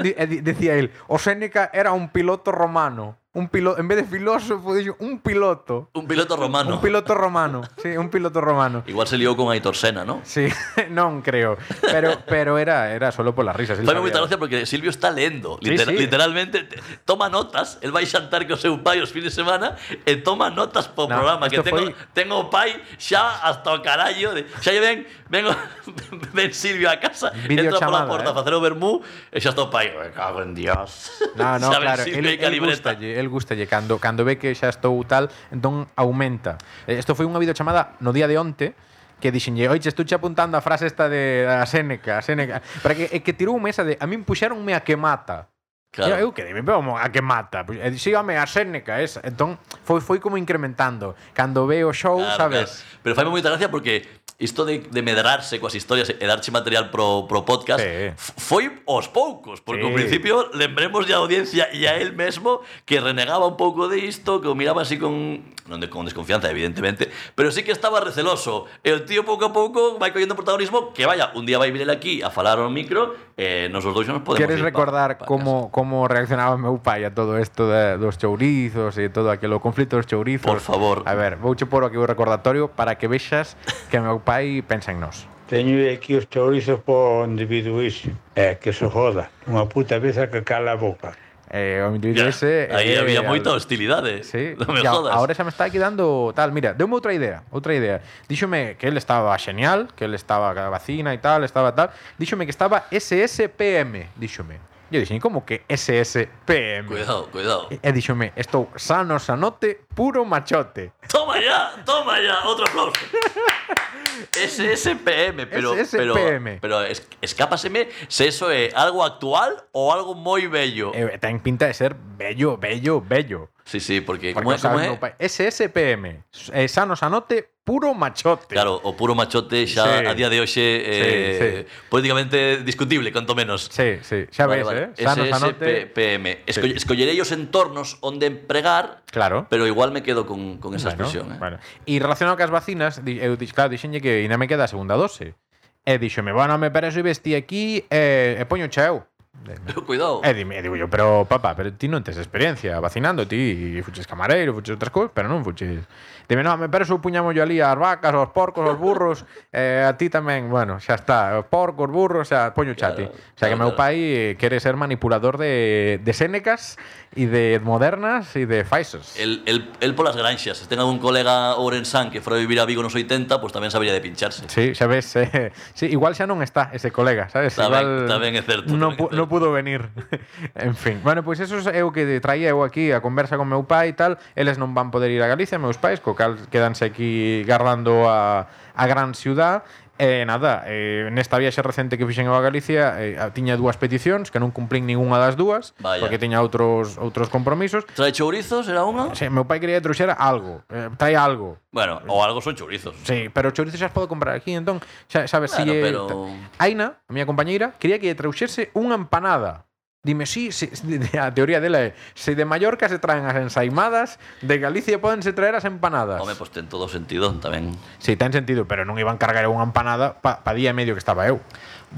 Speaker 1: Di- e di- Dicía el, o Seneca era un piloto romano. Un piloto, en vez de filósofo, dixo un piloto.
Speaker 2: Un piloto romano.
Speaker 1: Un piloto romano. sí, un piloto romano.
Speaker 2: Igual se liou con Aitor Sena, ¿no?
Speaker 1: Sí, non creo. Pero, pero era, era solo polas risas. el
Speaker 2: Fai moita
Speaker 1: sabía.
Speaker 2: gracia porque Silvio está lendo,
Speaker 1: Sí,
Speaker 2: litera-
Speaker 1: sí.
Speaker 2: literalmente te- toma notas, el vai xantar co seu pai os fines de semana e toma notas po
Speaker 1: No,
Speaker 2: programa que
Speaker 1: isto foi-
Speaker 2: tengo, tengo o pai xa hasta o carallo de, xa lle ven, ven, o- ven Silvio a casa,
Speaker 1: Video
Speaker 2: entra pola
Speaker 1: chamada,
Speaker 2: porta
Speaker 1: eh.
Speaker 2: a facer o vermú e xa está o pai, "Me cago en Dios.
Speaker 1: No, no,
Speaker 2: Xa ven
Speaker 1: claro,
Speaker 2: Silvio
Speaker 1: el,
Speaker 2: aí ca
Speaker 1: el
Speaker 2: libreta.
Speaker 1: gustalle, el gustalle cando cando ve que xa estou tal, entón aumenta. Eh, Isto foi unha videochamada no día de onte que dixenlle, oiche, estou apuntando a frase esta de a Seneca, a Seneca, para que e que tirou mesa de a min puxéronme a que mata.
Speaker 2: Claro.
Speaker 1: Eu, eu que dime, pero a que mata. Pois, eh, Sígame a Seneca, esa. Entón foi foi como incrementando. Cando ve o show,
Speaker 2: Claro,
Speaker 1: sabes?
Speaker 2: claro. Pero faime moita gracia porque isto de, de medrarse coas historias e darche material pro, pro podcast
Speaker 1: Sí.
Speaker 2: f- foi aos poucos, porque ao
Speaker 1: Sí.
Speaker 2: principio lembremos de audiencia e a él mesmo que renegaba un pouco de isto, que o miraba así con non de, con desconfianza, evidentemente, pero sí que estaba receloso. E o tío pouco a pouco vai collendo protagonismo que vaya, un día vai vir el aquí a falar ao micro e eh, nos os dois non podemos
Speaker 1: Queres
Speaker 2: ir pa-
Speaker 1: recordar
Speaker 2: pa casa.
Speaker 1: como como reaccionaba meu pai a todo isto de, dos chourizos e todo aquilo, o conflito dos chourizos?
Speaker 2: Por favor.
Speaker 1: A ver, vouche por aquí o recordatorio para que vexas que meu pai pensa en nós.
Speaker 4: Teño aquí os chourizos po individuismo. É, que se joda. Unha puta vez a que cala a boca.
Speaker 1: Eh, o individuo
Speaker 2: Ya,
Speaker 1: ese...
Speaker 2: aí
Speaker 1: eh,
Speaker 2: había
Speaker 1: al-
Speaker 2: moita hostilidade.
Speaker 1: Sí,
Speaker 2: non me
Speaker 1: e a-
Speaker 2: jodas.
Speaker 1: ahora xa me está quedando tal. Mira, deume outra idea, outra idea. Díxome que el estaba genial, que el estaba ca vacina e tal, estaba tal. Díxome que estaba SSPM, díxome. Yo dixen, como que SSPM?
Speaker 2: Cuidado, cuidado.
Speaker 1: E e díxome, estou sano, sanote, puro machote.
Speaker 2: Toma ya, toma ya, otro aplauso. SSPM, pero,
Speaker 1: SSPM.
Speaker 2: pero, pero es- escápaseme se eso é algo actual o algo moi bello.
Speaker 1: Eh, ten pinta de ser bello, bello, bello.
Speaker 2: Sí, sí, porque,
Speaker 1: Porque
Speaker 2: como é,
Speaker 1: o sea,
Speaker 2: como é?
Speaker 1: meu pai- SSPM, eh, sano, sanote, puro machote.
Speaker 2: Claro, o puro machote xa
Speaker 1: Sí.
Speaker 2: a día de hoxe eh, políticamente discutible, cuanto menos.
Speaker 1: Sí, sí, xa ves, eh? Sano, sanote,
Speaker 2: SSPM. Escoll- Escollerei os entornos onde empregar,
Speaker 1: claro.
Speaker 2: pero igual me quedo con, con esa
Speaker 1: Bueno,
Speaker 2: expresión. eh.
Speaker 1: bueno. E relacionado cas vacinas, di- eu dix, claro, dixenlle que ainda me queda a segunda dose. E dixome, bueno, me parece vestí aquí eh, e, e poño xa eu.
Speaker 2: Pero cuidado.
Speaker 1: E dime, e digo yo, pero papá, pero ti non tes experiencia vacinando, ti fuches camareiro, fuches outras cousas, pero non fuches. Dime, no, me parece puñamos yo ali as vacas, aos porcos, aos burros, eh, a ti tamén, bueno, xa está, os porcos, burros, xa poño chati.
Speaker 2: Claro,
Speaker 1: o sea que
Speaker 2: claro,
Speaker 1: meu pai eh, quere ser manipulador de, de Sénecas e de Modernas e de Pfizer.
Speaker 2: El, el, el polas granxas. Se ten algún colega ourensán que fora a vivir a Vigo nos 80, pois tamén sabería pues de pincharse.
Speaker 1: Sí, xa ves, eh, sí, igual xa non está ese colega, sabes?
Speaker 2: Tá
Speaker 1: igual
Speaker 2: ben, tá ben, é certo,
Speaker 1: Non,
Speaker 2: tá ben, é
Speaker 1: pu- non
Speaker 2: certo.
Speaker 1: pudo venir. en fin. Bueno, pois eso é o que traía eu aquí a conversa con meu pai e tal. Eles non van poder ir a Galicia, meus pais, co cal quedanse aquí gardando a, a gran ciudad. E nada, eh, nesta viaxe recente que fixen a Galicia eh, a- tiña dúas peticións que non cumplín ningunha das dúas
Speaker 2: Vaya.
Speaker 1: porque tiña outros outros compromisos.
Speaker 2: Trae chourizos, era unha?
Speaker 1: Se, meu pai quería que trouxera algo, eh, trae algo.
Speaker 2: Bueno, o algo son chourizos.
Speaker 1: Sí, pero o chorizo xa os podo comprar aquí, entón, xa, sabes,
Speaker 2: Claro,
Speaker 1: si é-
Speaker 2: pero-
Speaker 1: Aina, a miña compañeira, quería que lle trouxese unha empanada. Dime, sí, sí, a teoría dela é se de Mallorca se traen as ensaimadas, de Galicia podense traer as empanadas.
Speaker 2: Home, pois ten pues todo o sentido tamén.
Speaker 1: Si, sí, ten sentido, pero non iban cargar unha empanada pa, pa día e medio que estaba eu.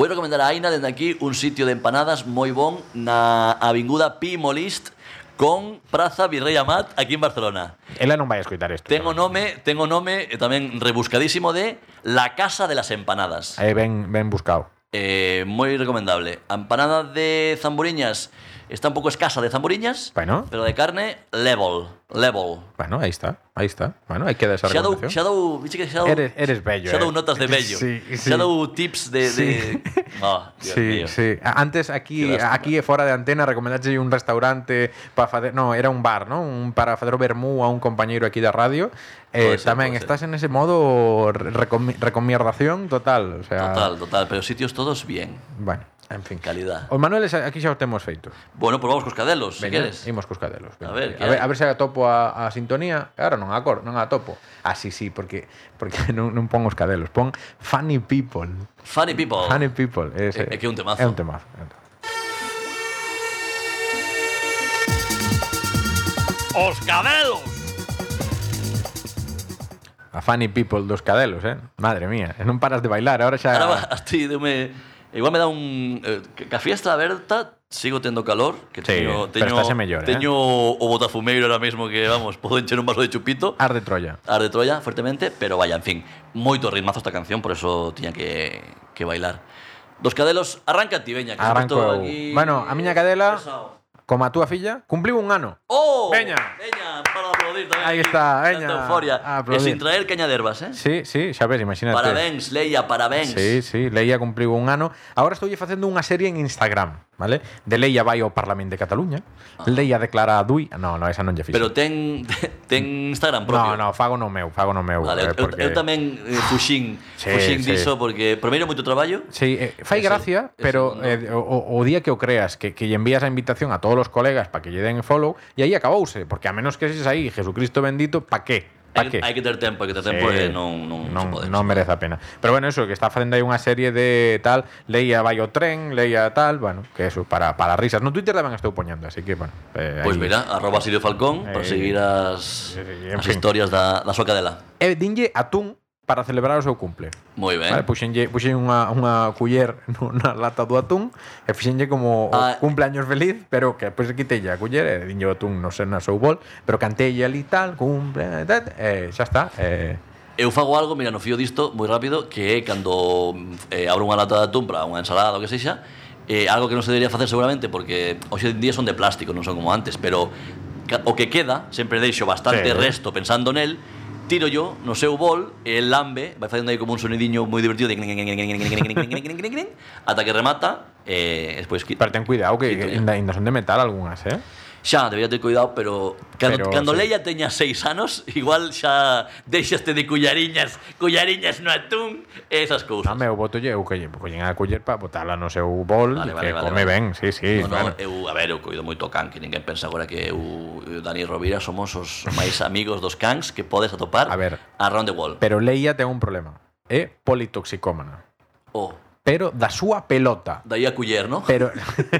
Speaker 2: Vou recomendar a Aina dende aquí un sitio de empanadas moi bon na avinguda Pimolist con Praza Virrey Amat aquí en Barcelona.
Speaker 1: Ela non vai a escoitar isto.
Speaker 2: Ten o nome, ten o nome e tamén rebuscadísimo de La Casa de las Empanadas.
Speaker 1: É ben, ben buscado.
Speaker 2: Eh, moi recomendable. A empanada de zamburiñas está un pouco escasa de zamburiñas,
Speaker 1: Bueno.
Speaker 2: pero de carne level, level.
Speaker 1: Bueno, aí está, aí está. Bueno, aí queda esa
Speaker 2: Xa dou,
Speaker 1: recomendación.
Speaker 2: xa dou, vixe que xa dou,
Speaker 1: Eres- eres bello,
Speaker 2: xa dou
Speaker 1: eh.
Speaker 2: notas de bello.
Speaker 1: Sí, sí.
Speaker 2: Xa dou tips de... de... Ah, Dios
Speaker 1: Sí,
Speaker 2: mío.
Speaker 1: sí. A- Antes aquí
Speaker 2: Qué lástima.
Speaker 1: aquí e fora de antena recomendaste un restaurante para facer, no, era un bar, ¿no? Un para facer o vermú a un compañeiro aquí da radio. Eh,
Speaker 2: Pode ser,
Speaker 1: tamén
Speaker 2: pode ser.
Speaker 1: estás en ese modo recomi recomiendación total, o sea,
Speaker 2: Total, total, pero sitios todos bien.
Speaker 1: bueno, en fin.
Speaker 2: Calidad.
Speaker 1: Os Manueles aquí xa os temos feito.
Speaker 2: Bueno, pues vamos cos cadelos, si
Speaker 1: Veña,
Speaker 2: queres.
Speaker 1: imos cos cadelos. veña.
Speaker 2: A ver, que
Speaker 1: a ver, a
Speaker 2: hai?
Speaker 1: ver se atopo a, a sintonía. Claro, non a cor, non a topo. Ah, sí, sí, porque porque non, non pon os cadelos, pon Funny People.
Speaker 2: Funny people.
Speaker 1: Funny People. Ese,
Speaker 2: É- é Oh. que é un temazo.
Speaker 1: É un temazo. é un temazo.
Speaker 2: Os cadelos.
Speaker 1: A Funny People dos cadelos, eh? Madre mía, e non paras de bailar, ahora xa...
Speaker 2: Ahora va, a ti, deume... Igual me dá un... Eh, que- que a fiesta aberta sigo tendo calor. Que
Speaker 1: Sí,
Speaker 2: teño,
Speaker 1: pero
Speaker 2: teño,
Speaker 1: estás en mellor, eh?
Speaker 2: teño o botafumeiro ahora mesmo que, vamos, podo encher un vaso de chupito.
Speaker 1: Ar de Troya.
Speaker 2: Ar de Troya, fuertemente, pero vaya, en fin. Moito ritmazo esta canción, por eso tiña que, que bailar. Dos cadelos, arranca ti, veña. Que
Speaker 1: Arranco
Speaker 2: se
Speaker 1: eu.
Speaker 2: portou aquí
Speaker 1: Bueno, a miña cadela-
Speaker 2: pesado.
Speaker 1: Como a túa filla, cumpliu un ano.
Speaker 2: ¡Oh!
Speaker 1: Veña.
Speaker 2: Veña, para aplaudir tamén.
Speaker 1: Aí
Speaker 2: aquí.
Speaker 1: está, veña.
Speaker 2: Tanta euforia.
Speaker 1: A
Speaker 2: E
Speaker 1: aplaudir.
Speaker 2: sin traer caña de herbas, eh?
Speaker 1: Sí, sí, xa ves, imagínate.
Speaker 2: Parabéns, Leia, parabéns.
Speaker 1: Sí, sí, Leia cumpliu un ano. Ahora estou facendo unha serie en Instagram, vale? De Leia vai ao Parlamento de Cataluña. Leia declara a Dui... No, no, esa non lle fixo.
Speaker 2: Ah. Pero ten, ten Instagram propio.
Speaker 1: No, no, fago no meu, fago no meu.
Speaker 2: Vale,
Speaker 1: eh,
Speaker 2: eu, eu, eu tamén eh, fuxín,
Speaker 1: Sí,
Speaker 2: fuxín
Speaker 1: sí.
Speaker 2: diso porque primeiro moito traballo.
Speaker 1: Sí, eh, fai
Speaker 2: Eso-
Speaker 1: gracia,
Speaker 2: eso
Speaker 1: pero
Speaker 2: non.
Speaker 1: eh, o, o día que o creas, que, que lle envías a invitación a todos os colegas para que lle den follow, e aí acabouse, porque a menos que seas aí, Jesucristo bendito, pa qué? Pa
Speaker 2: Hai,
Speaker 1: qué?
Speaker 2: hai que ter tempo, hai que ter
Speaker 1: Sí.
Speaker 2: tempo e non, non,
Speaker 1: non,
Speaker 2: se pode.
Speaker 1: non merece a pena. Pero bueno, eso, que está facendo aí unha serie de tal, leía vai o tren, leía tal, bueno, que eso, para, para risas. No Twitter tamén estou poñendo, así que, bueno. Eh,
Speaker 2: Pois
Speaker 1: aí-
Speaker 2: mira, arroba Sirio Falcón para
Speaker 1: Eh,
Speaker 2: seguir as,
Speaker 1: eh, en
Speaker 2: as
Speaker 1: fin.
Speaker 2: historias da, da súa cadela.
Speaker 1: E dinlle atún para celebrar o seu cumple.
Speaker 2: Moi ben.
Speaker 1: Vale, puxenlle, puxen unha, unha culler nunha lata do atún e fixenlle como o
Speaker 2: Ah.
Speaker 1: cumpleaños feliz, pero que despois quitelle a culler e dinlle o atún, non sei, na seu bol, pero cantelle ali tal, cumple, tal, e xa está. Eh,
Speaker 2: Eu fago algo, mira, no fío disto moi rápido, que é cando mm, eh, abro unha lata de atún para unha ensalada ou que sexa, eh, algo que non se debería facer seguramente porque hoxe en día son de plástico, non son como antes, pero ca- o que queda, sempre deixo bastante
Speaker 1: Sí.
Speaker 2: resto pensando nel, tiro yo no seu bol e el lambe, vai facendo aí como un sonidiño moi divertido de ata que remata e eh, despois
Speaker 1: pero ten cuidado que, que
Speaker 2: Quito, ya.
Speaker 1: ainda, ainda son de metal algunhas, eh?
Speaker 2: Xa, debería ter cuidado, pero
Speaker 1: Pero,
Speaker 2: cando, pero, cando
Speaker 1: sí.
Speaker 2: Leia teña seis anos, igual xa deixaste de cullariñas, cullariñas no atún, e esas cousas.
Speaker 1: Non, meu, botolle eu que lle collen a culler para botala no seu bol,
Speaker 2: Vale, vale,
Speaker 1: que
Speaker 2: vale,
Speaker 1: come
Speaker 2: vale.
Speaker 1: ben, sí, sí.
Speaker 2: No, eh. no,
Speaker 1: bueno.
Speaker 2: eu, a ver, eu coido moito o can, que ninguén pensa agora que eu e o Dani Rovira somos os máis amigos dos cans que podes atopar
Speaker 1: A ver.
Speaker 2: around the wall.
Speaker 1: Pero Leia ten un problema, é politoxicómana,
Speaker 2: Oh,
Speaker 1: pero da súa pelota.
Speaker 2: daí a culler, no?
Speaker 1: Pero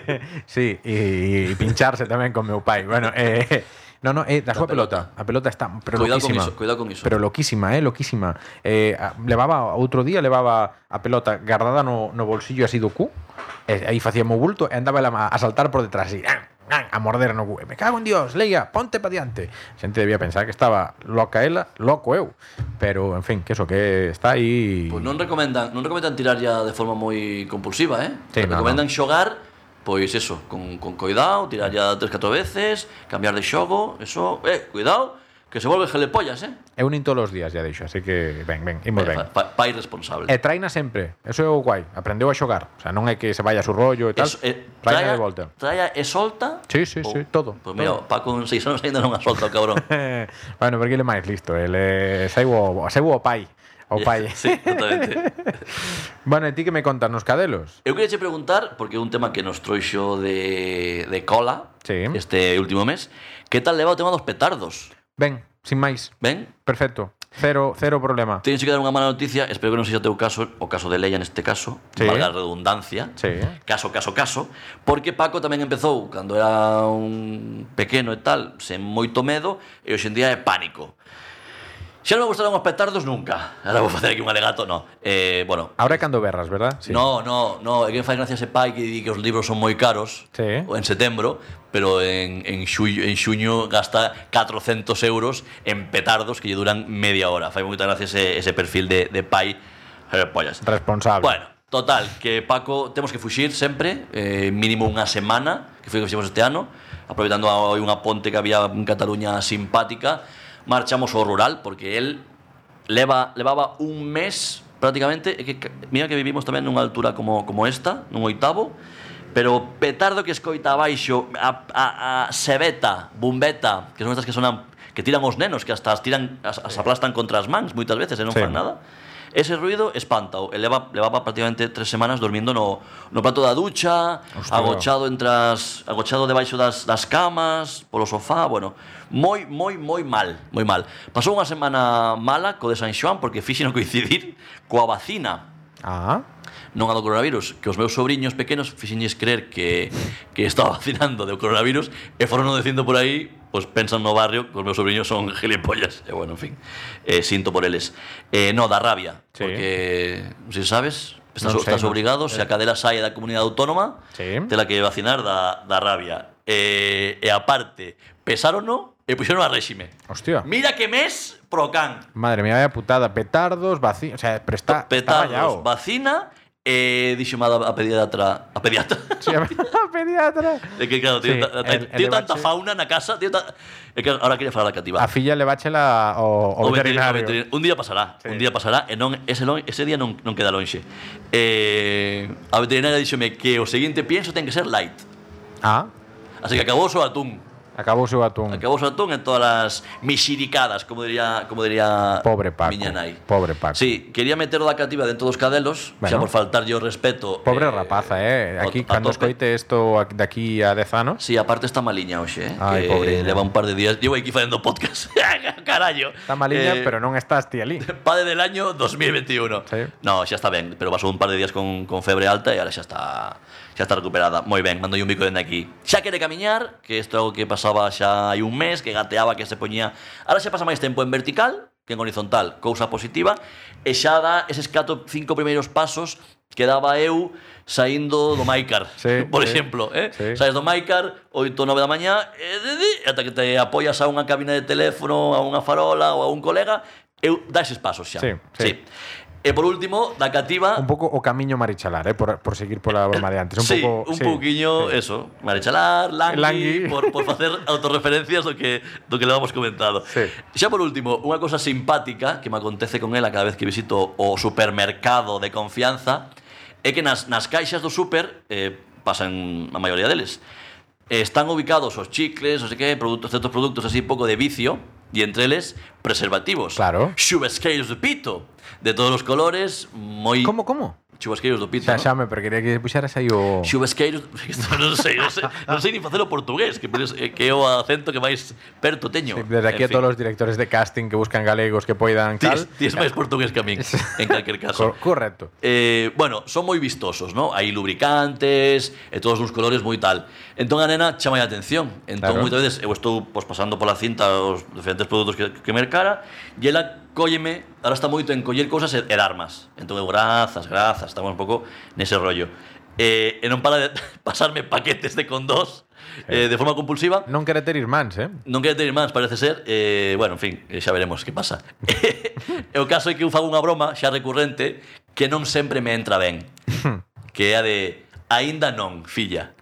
Speaker 1: sí, e, e pincharse tamén con meu pai. Bueno, eh No, no, eh, da súa pelota.
Speaker 2: pelota.
Speaker 1: A pelota está pero
Speaker 2: Cuidado con
Speaker 1: loquísima.
Speaker 2: iso, cuidado con iso.
Speaker 1: Pero loquísima, eh, loquísima. Eh, a- levaba outro día levaba a pelota guardada no, no bolsillo así do cu. E, aí facía mo bulto e andaba ela a saltar por detrás así. ¡ah! ¡ah! A morder no cu. E, Me cago en Dios, Leia, ponte pa diante. A xente debía pensar que estaba loca ela, loco eu. Pero, en fin, que eso, que está aí...
Speaker 2: Pois non Pues em recomendan, non recomendan tirar ya de forma moi compulsiva, eh?
Speaker 1: Sí, no,
Speaker 2: recomendan xogar pois eso, con, con coidado, tirar ya tres, catro veces, cambiar de xogo, eso, eh, cuidado, que se volve gelepollas, eh?
Speaker 1: Eu nin todos os e días, ya deixo, así que ben, ben, imos ben.
Speaker 2: Pa, pa, pai responsable.
Speaker 1: E traina sempre, eso é o guai, aprendeu a xogar. O sea, non é que se vaya a su rollo e tal.
Speaker 2: Es- eh,
Speaker 1: traina
Speaker 2: traia-
Speaker 1: de volta.
Speaker 2: Traia e solta?
Speaker 1: Sí, sí, sí, todo,
Speaker 2: Pues
Speaker 1: todo.
Speaker 2: mira, Paco con seis anos ainda non a solta o cabrón.
Speaker 1: bueno, porque ele é máis listo, ele é saiu o, saiu o pai O pai.
Speaker 2: Sí, totalmente.
Speaker 1: Bueno, e ti que me contas nos cadelos?
Speaker 2: Eu queria che preguntar, porque é un tema que nos trouxo de, de cola
Speaker 1: Sí.
Speaker 2: este último mes, que tal leva o tema dos petardos?
Speaker 1: Ben, sin máis.
Speaker 2: Ben?
Speaker 1: Perfecto. Cero, cero problema.
Speaker 2: Tens que dar unha mala noticia, espero que non sexa o teu caso, o caso de Leia neste caso,
Speaker 1: Sí.
Speaker 2: valga a redundancia,
Speaker 1: Sí.
Speaker 2: caso, caso, caso, porque Paco tamén empezou cando era un pequeno e tal, sen moito medo, e hoxendía é pánico. Xa non me gustaron os petardos nunca. Ahora vou facer aquí un alegato, no. Eh, bueno,
Speaker 1: Ahora é cando berras, verdad?
Speaker 2: No, no, no, é que me fai gracia ese pai que di que os libros son moi caros
Speaker 1: Sí.
Speaker 2: en setembro, pero en, en, xullo, en xuño gasta 400 euros en petardos que lle duran media hora. Fai moita gracia ese, ese perfil de, de pai eh, pollas.
Speaker 1: Responsable.
Speaker 2: Bueno, total, que Paco temos que fuxir sempre, eh, mínimo unha semana, que foi o que fixemos este ano, aproveitando a- hoi unha ponte que había en Cataluña simpática, marchamos ao rural, porque él leva, levaba un mes prácticamente, e que, ca- mira que vivimos tamén nunha altura como, como esta, nun oitavo, pero petardo que escoita abaixo, a, a, a sebeta, bombeta, que son estas que sonan que tiran os nenos, que hasta as tiran as, as aplastan contra as mans moitas veces e non
Speaker 1: Sí.
Speaker 2: fan nada. Ese ruido espántao. E leva, levaba prácticamente tres semanas dormindo no, no prato da ducha,
Speaker 1: Hostia.
Speaker 2: agochado entre as, agochado debaixo das, das camas, polo sofá, bueno, moi, moi, moi mal, moi mal. Pasou unha semana mala co de San Xoán porque fixen coincidir coa vacina
Speaker 1: Ah,
Speaker 2: non a do coronavirus, que os meus sobrinhos pequenos fixenlles creer que, que estaba vacinando do coronavirus e foron non dicindo por aí, pois pensan no barrio que os meus sobrinhos son gilipollas. E bueno, en fin, eh, sinto por eles. Eh, no, da rabia,
Speaker 1: Sí.
Speaker 2: porque, se sabes, estás,
Speaker 1: Non sei,
Speaker 2: estás
Speaker 1: non. Eh.
Speaker 2: obrigado, se a cadela sai da comunidade autónoma,
Speaker 1: Sí.
Speaker 2: te la que vacinar da, da rabia. Eh, e aparte, pesarono e puxeron a réxime.
Speaker 1: hostia.
Speaker 2: Mira que mes pro can.
Speaker 1: Madre mía, vaya putada. Petardos, vacío. O sea, pero está, está
Speaker 2: petardos,
Speaker 1: rayado.
Speaker 2: vacina e dixome a, a pediatra, a pediatra.
Speaker 1: Sí, a ver, pediatra.
Speaker 2: É que claro, tío,
Speaker 1: Sí,
Speaker 2: ta- ta-
Speaker 1: el- el
Speaker 2: tío
Speaker 1: debate-
Speaker 2: tanta fauna na casa, tío ta... É que agora quería falar da cativa.
Speaker 1: A filla le bachela o, o,
Speaker 2: O veterinario,
Speaker 1: veterinario.
Speaker 2: o veterinario. Un día pasará,
Speaker 1: Sí.
Speaker 2: un día pasará e non ese lon- ese día non non queda lonxe. Eh, a veterinaria díxome que o seguinte pienso ten que ser light.
Speaker 1: Ah,
Speaker 2: Así que acabou o seu atún.
Speaker 1: acabou o seu atún.
Speaker 2: Acabou o seu atún en todas as mixiricadas, como diría, como diría
Speaker 1: Pobre Paco,
Speaker 2: miña nai.
Speaker 1: pobre Paco.
Speaker 2: Sí, quería meter da cativa dentro dos cadelos,
Speaker 1: Bueno.
Speaker 2: xa por faltarlle o respeto.
Speaker 1: Pobre
Speaker 2: eh,
Speaker 1: rapaza, eh.
Speaker 2: ao-
Speaker 1: Aquí,
Speaker 2: a
Speaker 1: cando
Speaker 2: tope.
Speaker 1: escoite isto de aquí a 10 anos,
Speaker 2: Sí, aparte está maliña hoxe, eh?
Speaker 1: Ai,
Speaker 2: que
Speaker 1: pobriña.
Speaker 2: leva un par de días. Llevo aquí facendo podcast. Eh, Carallo.
Speaker 1: está maliña, pero non estás ti ali.
Speaker 2: Padre del año 2021.
Speaker 1: Sí.
Speaker 2: No, xa está ben, pero pasou un par de días con, con febre alta e agora xa está xa está recuperada. Moi ben, mando un bico dende aquí. Xa quere camiñar, que isto é algo que pasaba xa hai un mes, que gateaba, que se poñía... Ahora xa pasa máis tempo en vertical que en horizontal, cousa positiva, e xa dá eses cato, cinco primeiros pasos que daba eu saindo do Maicar,
Speaker 1: Sí,
Speaker 2: por
Speaker 1: sí.
Speaker 2: exemplo, eh?
Speaker 1: Sí.
Speaker 2: Saes do Maicar, 8 ou 9 da mañá, e de- de- ata que te apoias a unha cabina de teléfono, a unha farola ou a un colega, eu dá eses pasos xa.
Speaker 1: Sí, sí.
Speaker 2: E por último, da cativa...
Speaker 1: Un pouco o camiño marichalar, eh, por, por seguir pola broma de antes. Un
Speaker 2: sí,
Speaker 1: pouco,
Speaker 2: un
Speaker 1: sí.
Speaker 2: pouquiño eso, marechalar, langui,
Speaker 1: Langui.
Speaker 2: por, por facer autorreferencias do que do que levamos comentado.
Speaker 1: Sí.
Speaker 2: Xa por último, unha cosa simpática que me acontece con ela cada vez que visito o supermercado de confianza é que nas, nas caixas do super eh, pasan a maioría deles. Eh, Están ubicados os chicles, non sei que, produtos, certos produtos así pouco de vicio, e entre eles preservativos.
Speaker 1: Claro.
Speaker 2: Chubasqueiros de pito, de todos os colores, moi
Speaker 1: Como, como?
Speaker 2: chubasqueiros do pito.
Speaker 1: Xa,
Speaker 2: ¿no?
Speaker 1: xa me, pero quería que puxeras aí o...
Speaker 2: Chubasqueiros, non sei, non sei, non sei nin facelo portugués, que, penso- que é o acento que máis perto teño.
Speaker 1: Sí, Desde aquí a todos os directores de casting que buscan galegos que poidan
Speaker 2: Tis,
Speaker 1: tal.
Speaker 2: tis máis portugués que a min, en calquer caso.
Speaker 1: Cor- correcto.
Speaker 2: Eh, bueno, son moi vistosos, ¿no? Hai lubricantes e todos uns colores moi tal. Entón a nena chama a atención. Entón
Speaker 1: Claro.
Speaker 2: claro. moitas veces eu estou pues, pasando pola cinta os diferentes produtos que, que mercara e ela cólleme, ahora está moito en coller cousas e, e darmas. Entón eu grazas, grazas, estamos un pouco nese rollo. Eh, e non para de pasarme paquetes de condós eh, de forma compulsiva.
Speaker 1: Non quere ter irmáns, eh?
Speaker 2: Non quero ter irmáns, parece ser. Eh, bueno, en fin, eh, xa veremos que pasa. E o caso é que eu fago unha broma xa recurrente que non sempre me entra ben. que é a de aínda non, filla.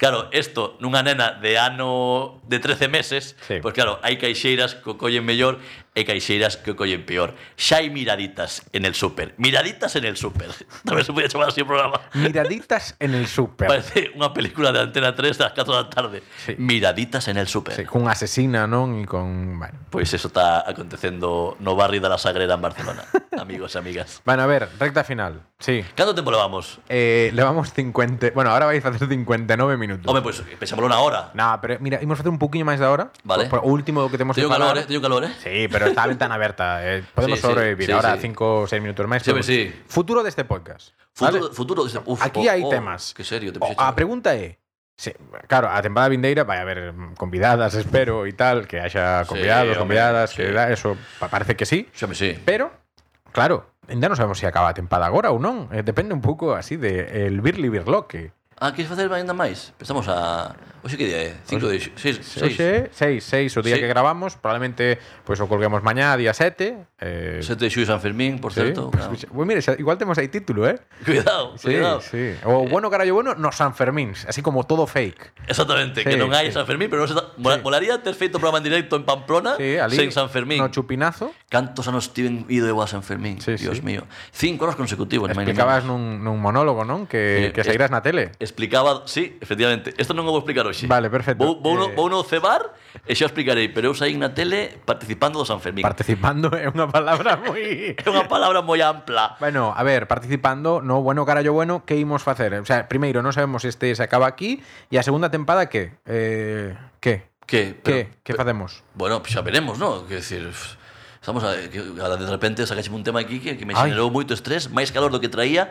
Speaker 2: Claro, isto nunha nena de ano de 13 meses, pues
Speaker 1: Sí.
Speaker 2: sí. pois claro, hai caixeiras que o collen mellor e caixeiras que collen peor. Xa hai miraditas en el súper. Miraditas en el súper. Tamén se podía chamar así o programa.
Speaker 1: Miraditas en el súper.
Speaker 2: Parece unha película de Antena 3 das 4 da tarde.
Speaker 1: Sí.
Speaker 2: Miraditas en el súper.
Speaker 1: Sí, con asesina, non? E con... Bueno.
Speaker 2: Pois Pues eso está acontecendo no barrio da La Sagrera en Barcelona, amigos e amigas.
Speaker 1: Bueno, a ver, recta final. Sí.
Speaker 2: Canto tempo levamos?
Speaker 1: Eh, levamos 50... Bueno, ahora vais a facer 59 minutos.
Speaker 2: Home, pois pues, eh, pensámoslo na hora.
Speaker 1: No, pero mira, imos facer un poquinho máis da hora.
Speaker 2: Vale.
Speaker 1: Por, por último do que temos
Speaker 2: Teño
Speaker 1: que
Speaker 2: calor,
Speaker 1: falar.
Speaker 2: eh? Teño calor, eh?
Speaker 1: Sí, pero está a ventana aberta. eh, podemos
Speaker 2: Sí, sí,
Speaker 1: sobrevivir.
Speaker 2: sí,
Speaker 1: Ahora
Speaker 2: sí.
Speaker 1: 5 ou 6 minutos máis.
Speaker 2: Sí,
Speaker 1: pero-
Speaker 2: sí.
Speaker 1: Futuro deste podcast.
Speaker 2: Futuro, este
Speaker 1: vale?
Speaker 2: futuro deste- uf,
Speaker 1: Aquí
Speaker 2: oh,
Speaker 1: hai
Speaker 2: oh,
Speaker 1: temas.
Speaker 2: Que serio, te
Speaker 1: O-
Speaker 2: puxeches.
Speaker 1: a pregunta é, se, claro, a temporada vindeira vai haber mm, convidadas, espero, e tal, que haxa
Speaker 2: Sí,
Speaker 1: convidados,
Speaker 2: home,
Speaker 1: convidadas,
Speaker 2: sí.
Speaker 1: que da, eso pa- parece que sí,
Speaker 2: Xame, sí.
Speaker 1: pero, claro, ainda non sabemos se acaba a temporada agora ou non, eh, depende un pouco así de el birli birloque.
Speaker 2: Ah, queres facer ainda máis? Pensamos a... Oxe, que día é? 5 de... 6, 6,
Speaker 1: Oxe, seis, seis o día
Speaker 2: Sí.
Speaker 1: que gravamos, probablemente pois o colguemos mañá, día 7. Eh,
Speaker 2: 7 de xuiz San Fermín, por
Speaker 1: sí,
Speaker 2: certo.
Speaker 1: pues,
Speaker 2: claro.
Speaker 1: escucha, Bueno, mire, xa- igual temos aí título, eh?
Speaker 2: Cuidado,
Speaker 1: Sí,
Speaker 2: cuidado. Eh,
Speaker 1: sí. O bueno, carallo bueno, nos Sanfermíns, así como todo fake.
Speaker 2: Exactamente,
Speaker 1: Sí,
Speaker 2: que non hai
Speaker 1: sí.
Speaker 2: San Fermín, pero non se está... Mola- Molaría ter feito programa en directo en Pamplona
Speaker 1: Sí, ali,
Speaker 2: sen San Fermín.
Speaker 1: No chupinazo.
Speaker 2: Cantos anos tiven ido eu a San Fermín,
Speaker 1: Sí,
Speaker 2: Dios
Speaker 1: sí.
Speaker 2: mío. Cinco anos consecutivos, ni máis ni
Speaker 1: Explicabas
Speaker 2: menos.
Speaker 1: nun, nun monólogo, non? Que,
Speaker 2: Eh,
Speaker 1: que sairás na tele.
Speaker 2: Explicaba, sí, efectivamente. Esto non o vou explicar hoxe.
Speaker 1: Vale, perfecto.
Speaker 2: Vou, vou, no,
Speaker 1: Eh,
Speaker 2: vou no cebar e xa explicarei, pero eu saí na tele participando do San Fermín.
Speaker 1: Participando é unha palabra moi...
Speaker 2: é unha palabra moi ampla.
Speaker 1: Bueno, a ver, participando, no bueno, carallo bueno, que imos facer? O sea, primeiro, non sabemos se este se acaba aquí e a segunda tempada que? Eh, que?
Speaker 2: Que,
Speaker 1: Que?
Speaker 2: pero-
Speaker 1: Que facemos?
Speaker 2: Bueno, pues xa veremos, ¿no? Que decir, uf, estamos a, que, a, de repente sacaxe un tema aquí que, que me
Speaker 1: Ai.
Speaker 2: generou moito estrés, máis calor do que traía.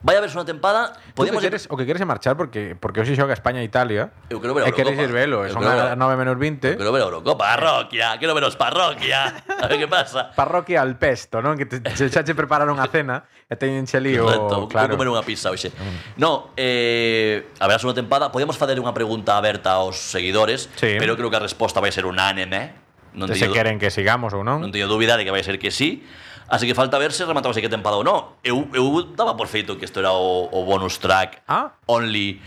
Speaker 2: Vai haber unha tempada,
Speaker 1: Podíamos
Speaker 2: podíamos em-
Speaker 1: que queres, o que queres é marchar porque porque hoxe xoga España e Italia.
Speaker 2: Eu quero ver
Speaker 1: e
Speaker 2: a
Speaker 1: queres ir
Speaker 2: Eurocopa.
Speaker 1: velo, e
Speaker 2: Eu
Speaker 1: son
Speaker 2: quero
Speaker 1: as
Speaker 2: ver a-
Speaker 1: 9 menos 20.
Speaker 2: Quero ver a Eurocopa, parroquia, quero veros parroquia. A ver que pasa.
Speaker 1: Parroquia al pesto, non? Que te, te, xa te prepararon a cena e teñen chelío,
Speaker 2: Correcto,
Speaker 1: claro.
Speaker 2: claro. comer unha pizza hoxe. No, eh, haberá unha tempada, podíamos fazer unha pregunta aberta aos seguidores,
Speaker 1: Sí.
Speaker 2: pero creo que a resposta vai ser unánime. Non
Speaker 1: Non se
Speaker 2: teño,
Speaker 1: queren que sigamos ou non.
Speaker 2: non teño dúbida de que vai ser que sí. Así que falta ver se rematamos aí que tempada ou non. Eu, eu daba por feito que isto era o, o bonus track
Speaker 1: Ah.
Speaker 2: Only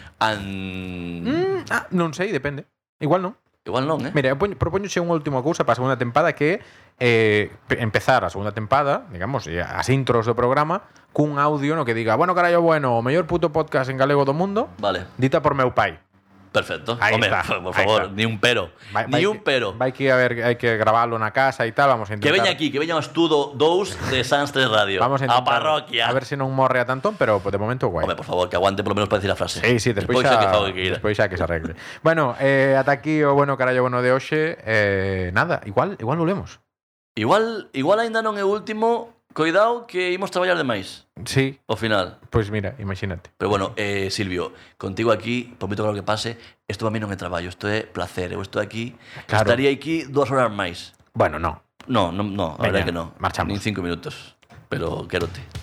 Speaker 2: and...
Speaker 1: Mm, ah, non sei, depende. Igual non.
Speaker 2: Igual non, eh?
Speaker 1: Mira, eu poño- propoñoche unha última cousa para a segunda tempada que é eh, pe- empezar a segunda tempada, digamos, e as intros do programa cun audio no que diga, bueno, carallo, bueno, o mellor puto podcast en galego do mundo,
Speaker 2: Vale,
Speaker 1: dita por meu pai.
Speaker 2: perfecto.
Speaker 1: Ahí
Speaker 2: Home,
Speaker 1: está,
Speaker 2: por
Speaker 1: ahí
Speaker 2: favor,
Speaker 1: está.
Speaker 2: ni un pero.
Speaker 1: Vai-
Speaker 2: ni
Speaker 1: vai
Speaker 2: un
Speaker 1: que-
Speaker 2: pero.
Speaker 1: Vai que haber hai que gravarlo na casa e tal, vamos a
Speaker 2: Que
Speaker 1: intentar.
Speaker 2: veña aquí, que veña o estudo 2 de Sanstre Radio.
Speaker 1: Vamos a, intentar,
Speaker 2: parroquia.
Speaker 1: A ver se non morre a tantón, pero de momento guai.
Speaker 2: Home, por favor, que aguante por lo menos para decir a frase.
Speaker 1: Sí, sí, despois,
Speaker 2: xa que
Speaker 1: xa,
Speaker 2: fago que queira.
Speaker 1: despois xa que se arregle. bueno, eh, ata aquí o bueno carallo bueno de hoxe. Eh, nada, igual igual volvemos.
Speaker 2: Igual, igual aínda non é o último, coidado que imos traballar demais
Speaker 1: Sí,
Speaker 2: ao final.
Speaker 1: pois mira, imagínate.
Speaker 2: Pero bueno, eh, Silvio, contigo aquí, por moito que lo que pase, isto para mí non é traballo, isto é placer. Eu estou aquí,
Speaker 1: Claro.
Speaker 2: estaría aquí dúas horas máis.
Speaker 1: Bueno, no.
Speaker 2: No, no, no, a
Speaker 1: Veña,
Speaker 2: verdade que non.
Speaker 1: marchamos.
Speaker 2: Nin cinco minutos. Pero quérote.